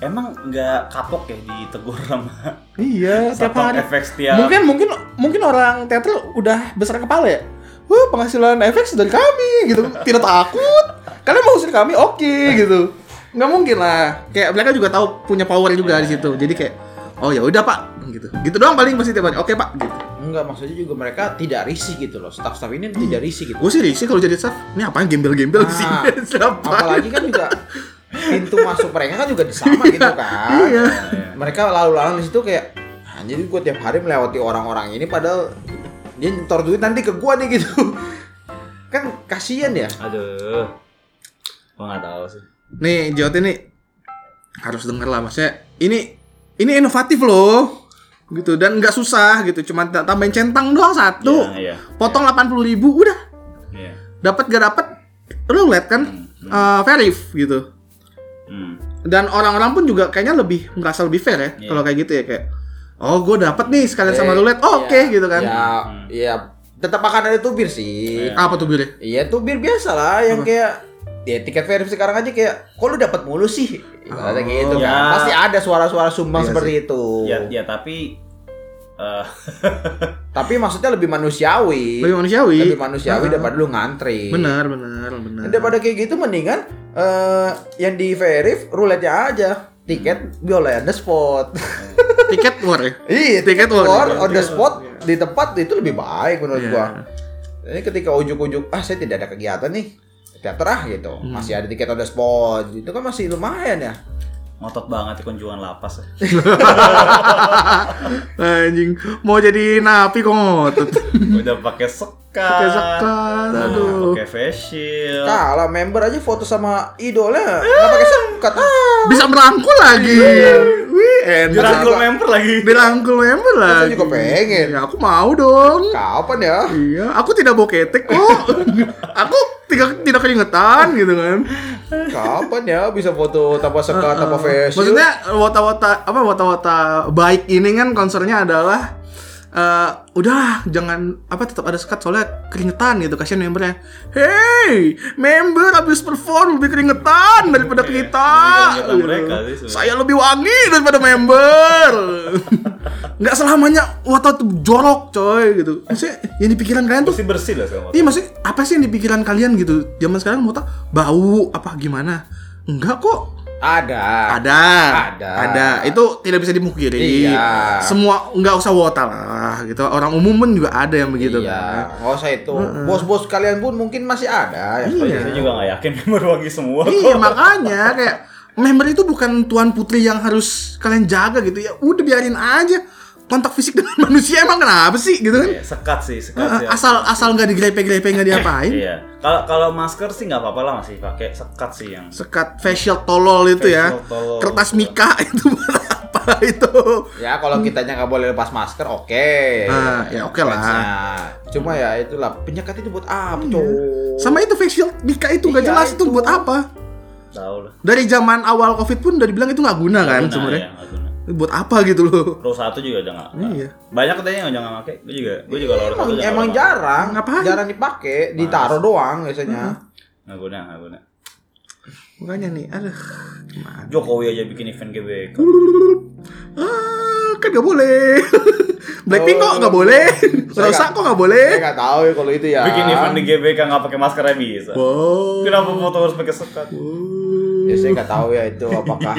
emang nggak kapok ya ditegur sama Iya, tiap Satpol hari. FX Ya. tiap Mungkin mungkin mungkin orang teater udah besar kepala ya. Wah, penghasilan efek dari kami gitu. Tidak takut. Kalian mau usir kami oke gitu. Nggak mungkin lah. Kayak mereka juga tahu punya power juga di situ. Jadi kayak oh ya udah Pak gitu. Gitu doang paling pasti tiap hari. Oke, Pak gitu. Enggak maksudnya juga mereka tidak risih gitu loh. Staff-staff ini Hmm. tidak risih gitu. Gue sih risih kalau jadi staff. Ini apaan gembel-gembel di sini? Ah, Siapa? apalagi kan juga pintu masuk mereka kan juga sama gitu kan Iya. mereka lalu-lalang di situ kayak anjir gue tiap hari melewati orang-orang ini padahal dia nyetor duit nanti ke gua nih gitu kan kasihan ya aduh gue nggak tahu sih Nih, Jot ini harus denger lah maksudnya. Ini ini inovatif loh. Gitu dan nggak susah gitu. Cuma ta- tambahin centang doang satu. Iya, iya. Potong 80.000 ribu udah. Iya. Dapat gak dapat lu lihat kan eh, verif gitu. Hmm. Dan orang-orang pun juga kayaknya lebih merasa lebih fair ya Iya. kalau kayak gitu ya kayak oh gue dapat nih sekalian sama Eh, roulette oh, ya, oke gitu kan ya Hmm. ya tetap akan ada tubir sih apa tuh gue iya tubir biasa lah yang kayak ya tiket verif sekarang aja kayak kok lu dapat mulu sih Oh. Ibaratnya gitu Ya. kan pasti ada suara-suara sumbang Iya seperti itu Ya, ya tapi eh, Tapi maksudnya lebih manusiawi. Lebih manusiawi. Lebih manusiawi Ah. daripada lu ngantri. Benar, benar, benar. Daripada kayak gitu mendingan eh, yang di Verif roulette-nya aja. Tiket biola on the spot. tiket war ya. Iya, Tiket tiket war. war on the spot di tempat itu lebih baik menurut Iya. gua. Ini ketika ujuk-ujuk ah saya tidak ada kegiatan nih teater ah gitu Hmm. masih ada tiket on the spot itu kan masih lumayan ya ngotot banget ya kunjungan lapas ya. Anjing, mau jadi napi kok ngotot. Udah pakai sekat. Pakai sekat, Nah, aduh. Ah, Pakai face Iya. shield. kalah member aja foto sama idolnya nggak pakai sekat ah Bisa merangkul lagi. Wih, enak. Dirangkul member lagi. Dirangkul member saya lagi. juga pengen Ya, aku mau dong. kapan ya Iya, aku tidak mau ketek kok. aku tidak tidak keringetan gitu kan. kapan ya bisa foto tanpa sekat tanpa face shield? Maksudnya wata-wata apa wata-wata baik ini kan concernnya adalah eh udahlah jangan apa tetap ada sekat soalnya keringetan gitu kasihan membernya. Hey, member habis perform lebih keringetan Iya, daripada kita. lebih keringetan mereka sih sebenarnya. Saya lebih wangi daripada member. Nggak selamanya wata tuh jorok coy gitu. Maksudnya yang di pikiran kalian tuh Pasti bersih lah sama. Iya maksudnya apa sih yang di pikiran kalian gitu? Zaman sekarang mau tak bau apa gimana? Enggak kok. ada Ada. Ada. Ada. Itu tidak bisa dimungkiri. Iya. Semua nggak usah wota lah gitu. Orang umum pun juga ada yang begitu kan. iya nggak usah itu bos-bos kalian pun mungkin masih ada ya Iya. Saya juga nggak yakin member wangi semua. Iya, makanya kayak member itu bukan tuan putri yang harus kalian jaga gitu ya. Udah biarin aja. Kontak fisik dengan manusia emang kenapa sih gitu kan? Eh, Iya, sekat sih, sekat sih. Asal asal nggak digrepe-grepe nggak diapain. Iya. Kalau kalau masker sih nggak apa-apa lah masih pakai sekat sih yang. sekat facial tolol itu ya Facial tolol. kertas mika itu buat apa itu Ya kalau kitanya nggak boleh lepas masker, oke. Hmm. Ah, ya oke lah. Iya. Fansnya. Cuma ya itulah penyekat itu buat apa, Cok? sama itu facial mika itu nggak Iya, jelas itu. itu. buat apa Tahu lah. dari zaman awal covid pun udah dibilang itu nggak guna kan Nah, sebenarnya iya, nggak guna. buat apa gitu loh Pro satu juga udah nggak. nggak. Iya. Banyak katanya yang jangan pakai. Gue juga, gue juga kalau Emang, emang jarang, Ngapain? jarang dipakai, ditaruh doang biasanya. Nggak guna, nggak guna. makanya nih aduh gimana Jokowi aja bikin event GBK. Iya. ah, kan nggak boleh blackpink kok nggak boleh Saya Rosa nggak- kok nggak Oh. Saya boleh nggak tahu ya kalau itu ya. Bikin event di GBK nggak pakai maskernya bisa. wow Kenapa foto harus pakai sekat? Ya saya nggak tahu ya itu apakah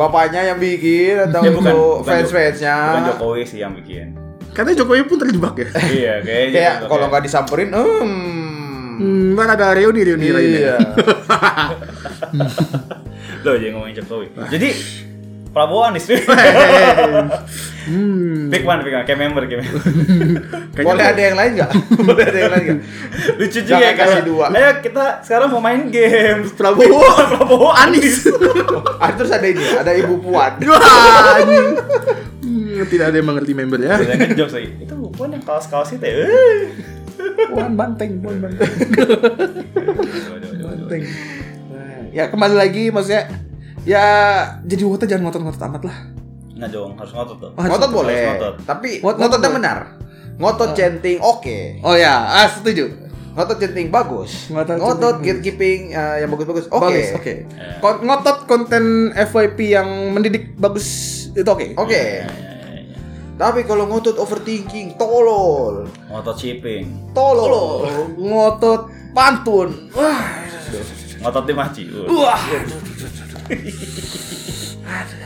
bapaknya yang bikin atau Ya, itu bukan fans-fansnya. Jo- Bukan Jokowi sih yang bikin. katanya Jokowi pun terjebak ya iya, kayaknya. Kayak juga kalau kayak- nggak disamperin, hmm. hmm, ntar ada reuni reuni reuni Iya. Loh, jangan ngomongin Jokowi. Jadi Prabowo Anies. Hmm. Big one, big one. Kayak member, kayak member. Boleh ada yang lain nggak? Boleh ada yang lain nggak? Lucu juga ya Jangan kasih kalau- dua. Ayo kita sekarang mau main game. Prabowo Prabowo Anies. Ah, terus ada ini, ada Ibu Puan. Wah, anjing. Hmm, tidak ada yang mengerti member ya. Jangan jokes lagi. Itu bukan yang kaos-kaos itu. ya. Eh. Bukan banteng, bukan banteng. Coba, coba, coba, coba. Iya. ya kembali lagi maksudnya ya jadi wota jangan ngotot-ngotot amat lah. Nggak dong, harus ngotot tuh. Oh, Harus Ngotot boleh, harus ngotot. tapi Ngotot ngototnya boleh. benar. Ngotot chanting oke. Oh ya, ah setuju. Ngotot chanting bagus. Ngotot Ngotot, chanting hmm. gatekeeping eh, yang bagus-bagus oke. Eh, Bagus, oke. Iya. Kon- Ngotot konten FYP yang mendidik bagus itu oke. Oke. Ya, ya, ya, ya. Tapi kalau ngotot overthinking, tolol. Ngotot shipping. Tolol. Ngotot pantun. Wah, Ngotot dimaci. Uh. wah.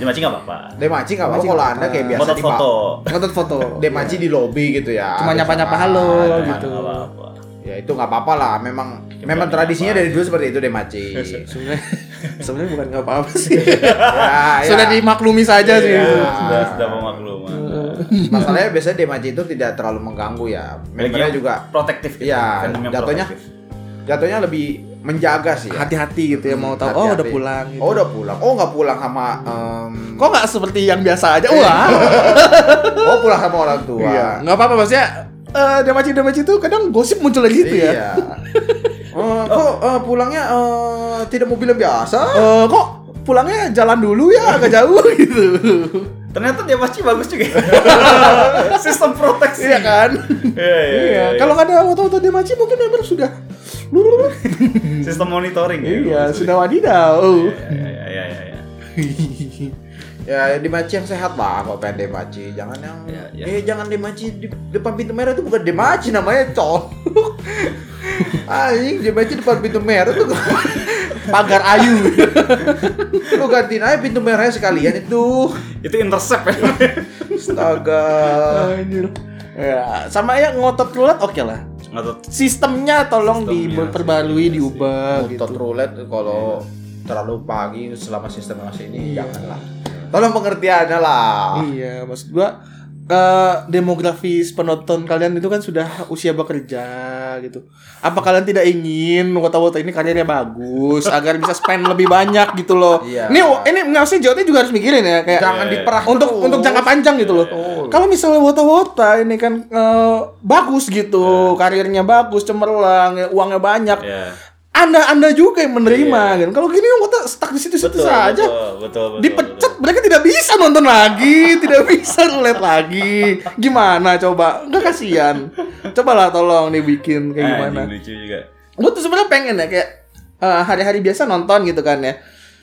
Dimaci nggak apa-apa. Demaci nggak apa-apa Demaci kalau nggak anda kayak biasa Ngotot di foto. Ngotot foto. Demaci di lobby gitu ya. Cuma Biasa. nyapa-nyapa halo Nah, Nggak gitu. apa-apa. Ya itu nggak apa-apa lah. Memang memang tradisinya dari dulu seperti itu demaci. Sebenarnya sebenarnya bukan nggak apa-apa sih. ya, ya. Sudah dimaklumi saja sih. Ya, itu. sudah sudah mau maklum. Iya. Masalahnya biasanya demaci itu tidak terlalu mengganggu ya. Membernya juga protektif. gitu, Iya, fandom yang jatuhnya protektif. jatuhnya lebih menjaga sih. Ya. Hati-hati gitu ya mau tahu. Oh, Hati-hati. udah pulang gitu. Oh udah pulang. Oh nggak pulang sama. em, Kok nggak seperti yang biasa aja? Wah. oh pulang sama orang tua. Iya, nggak apa-apa maksudnya eh damaci damaci itu kadang gosip muncul lagi gitu ya. Iya. Eh, kok eh, pulangnya eh, tidak mobil yang biasa? Eh kok pulangnya jalan dulu ya agak jauh gitu. Ternyata dia pasti bagus juga. Sistem proteksi. iya kan? Iya, iya, iya. Iya, kalau nggak ada foto-foto damaci mungkin member sudah lurus. Iya, sistem monitoring. ya. iya, sudah wadidau. Iya, iya, iya, iya, iya. ya dimaci yang sehat lah kalau pengen dimaci jangan yang Ya, ya. eh jangan dimaci di depan pintu merah itu bukan dimaci namanya colok anjing dimaci depan pintu merah itu pagar ayu lu gantiin aja pintu merahnya sekalian itu Itu intercept Iya. ya. astaga Ya, sama ya ngotot rulet oke lah. Ngotot. Sistemnya tolong Sistemnya iya diperbarui, sih. diubah gitu. Mutot roulette kalau terlalu pagi selama sistem masih ini janganlah Iya. tolong pengertiannya lah Iya, maksud gua eh, demografis penonton kalian itu kan sudah usia bekerja gitu. Apa kalian tidak ingin wota-wota ini karirnya bagus agar bisa spend lebih banyak gitu loh. Iya. Ini ini nggak sih Jotnya juga harus mikirin ya kayak jangan diperah untuk untuk jangka panjang gitu loh. Kalau misalnya wota-wota ini kan eh, bagus gitu, karirnya bagus, cemerlang, ya, uangnya banyak. Ya. Anda Anda juga yang menerima kan. Kalau gini wota stuck di situ-situ saja Betul, betul, betul. dipecat mereka tidak bisa nonton lagi tidak bisa roulette lagi gimana coba nggak kasihan cobalah tolong dibikin betul. kayak Ah, gimana anjing, lucu juga. gue tuh sebenarnya pengen ya kayak eh, hari-hari biasa nonton gitu kan ya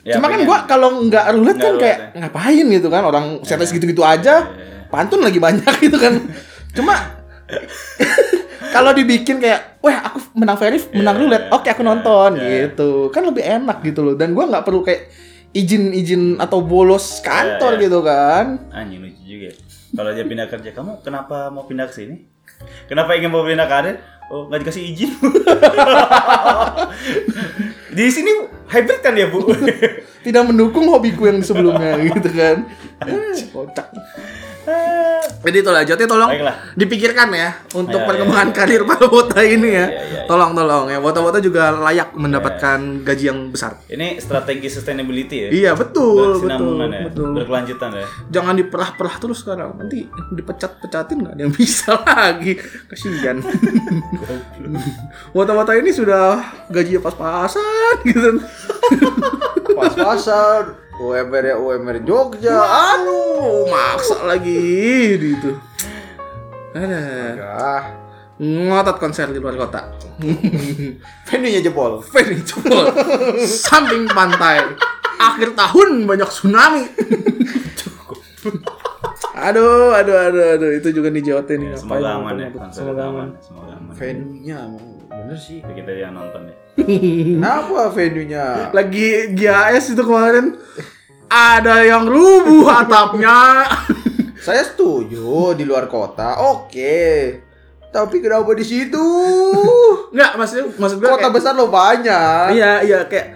Ya, cuma kan pengen. gue kalau nggak roulette Nggak ya. kan kayak roulette, ngapain gitu kan orang setes gitu-gitu Ya, aja pantun lagi banyak gitu kan cuma kalau dibikin kayak wah aku menang verif Ya, menang roulette oke aku nonton gitu kan lebih enak gitu loh dan gua nggak perlu kayak izin-izin atau bolos kantor Iya, iya. gitu kan Anjing lucu juga. ya. Kalau dia pindah kerja, kamu kenapa mau pindah ke sini? Kenapa ingin mau pindah karir? Oh, nggak dikasih izin. Di sini hybrid kan ya, Bu? tidak mendukung hobiku yang sebelumnya gitu kan Eh, kocak Jadi itulah Jotnya ya, tolong Baiklah. dipikirkan ya Ya, untuk ya, perkembangan ya, ya. karir para wota ini ya. ya, ya. Tolong tolong ya wota-wota juga layak mendapatkan gaji yang besar. Ini strategi sustainability ya. Iya betul betul Berkesinambungan ya, betul. berkelanjutan ya. Jangan diperah-perah terus sekarang nanti dipecat-pecatin nggak ada yang bisa lagi kasihan. wota-wota ini sudah gaji pas-pasan gitu. pas-pasan UMR ya UMR Jogja Aduh maksa lagi gitu. Ada ah ngotot konser di luar kota. venue-nya jebol Ferry jebol samping pantai akhir tahun banyak tsunami aduh aduh aduh aduh itu juga nih JOT nih Ya, ngapain semoga nonton aman ya, itu. konser semoga aman Semoga aman. venue-nya emang bener sih Kita yang nonton ya. kenapa venue-nya lagi GAS itu kemarin ada yang rubuh atapnya saya setuju di luar kota oke tapi kenapa di situ nggak maksud maksud gue kota kayak- besar lo banyak iya iya kayak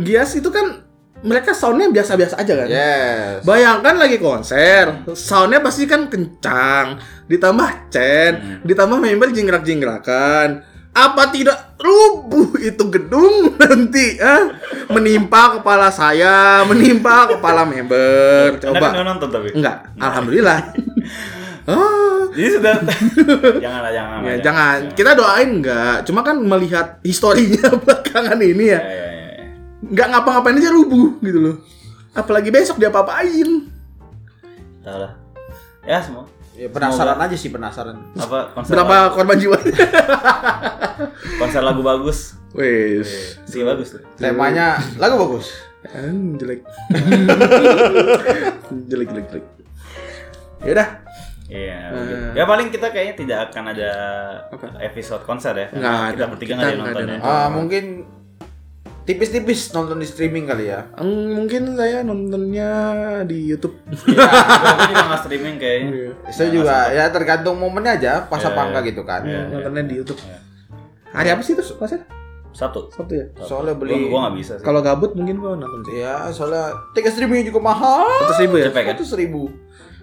GAS itu kan mereka soundnya biasa-biasa aja kan yes Bayangkan lagi konser, soundnya pasti kan kencang, ditambah chain, ditambah member jingkrak-jingkrakan. Apa tidak rubuh itu gedung nanti? ah? Menimpa kepala saya, menimpa kepala member. Anda kan Coba. nggak nonton tapi. Enggak, alhamdulillah. Ah, Jadi sudah jangan lah, jangan. lah, ya, jangan. Kita doain enggak. Cuma kan melihat historinya belakangan ini ya. Ya, ya, ya, ya. Enggak ngapa-ngapain aja rubuh gitu loh. Apalagi besok dia apa-apain. Tahu lah. Ya semua. ya, penasaran Semoga. aja sih penasaran Apa konser lagu, Berapa korban jiwa? konser lagu bagus? Wes. Sih bagus tuh. temanya lagu bagus Kan jelek. jelek jelek jelek. Ya udah, Iya. Nah. mungkin. Ya paling kita kayaknya tidak akan ada episode konser ya. karena Nggak kita ada. bertiga Kita nggak ada yang nggak nonton ada ya. nonton. ah mungkin tipis-tipis nonton di streaming kali ya Eng, mungkin saya nontonnya di YouTube. Iya. Iya, gua- gua juga nggak streaming kayaknya. Saya juga ya tergantung momennya aja pas apa enggak gitu kan. Iya, iya. nontonnya di YouTube. Hari apa sih itu konser? Sabtu. Sabtu ya. Soalnya Gua, beli gua nggak bisa sih. Kalau gabut mungkin gua nonton sih. ya soalnya tiket streaming juga mahal. gitu. Seratus ribu ya. Cepet kan? Seratus ribu.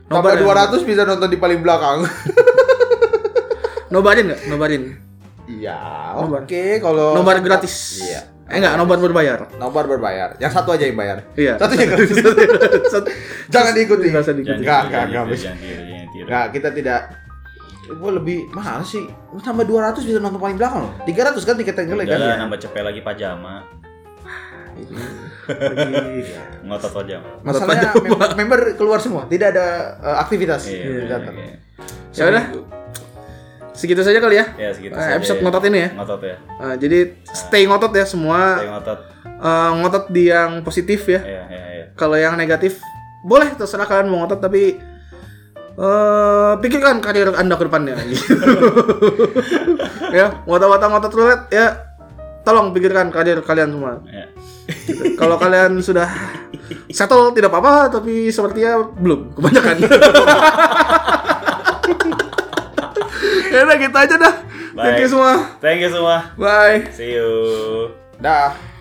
Nobar ya? Tambah dua ratus bisa nonton di paling belakang. Nobarin nggak? Nobarin. Iya. Nobar. Oke kalau Nobar gratis. Oh. Iya. Eh enggak, nobar berbayar. Nobar berbayar. Yang satu aja yang bayar. Iya. Satu yang gratis. Satu- gitu. Jangan diikuti. Nggak usah diikuti. Jangan tiru, Nggak, jangan nggak, nggak tiru, bisa. jangan tiru, jangan tiru. Nggak, kita tidak Gue lebih mahal sih. Tambah dua ratus bisa nonton paling belakang loh. Tiga ratus kan tiket yang jelek Udah kan. ya. lah, nambah cepet lagi pajama. Lagi- Ngotot Iya, pajama. Iya. Masalahnya Nonton member, member keluar semua, tidak ada eh, aktivitas. Iya. Tidak iya, datang. iya. Ya udah. Segitu saja kali ya. Ya segitu Eh, saja. episode ngotot ini ya. Ngotot ya. Eh, jadi stay ngotot ya semua. Saya ngotot. Eh, ngotot di yang positif ya. Iya, iya, iya. Kalau yang negatif boleh terserah kalian mau ngotot tapi eh pikirkan karir anda ke depannya Gitu. ya ngotot-ngotot ngotot roulette ya tolong pikirkan karir kalian semua Gitu. Ya. kalau kalian sudah settle tidak apa-apa tapi sepertinya belum kebanyakan ya udah kita aja dah thank Baik. you semua Thank you semua. bye See you. Dah.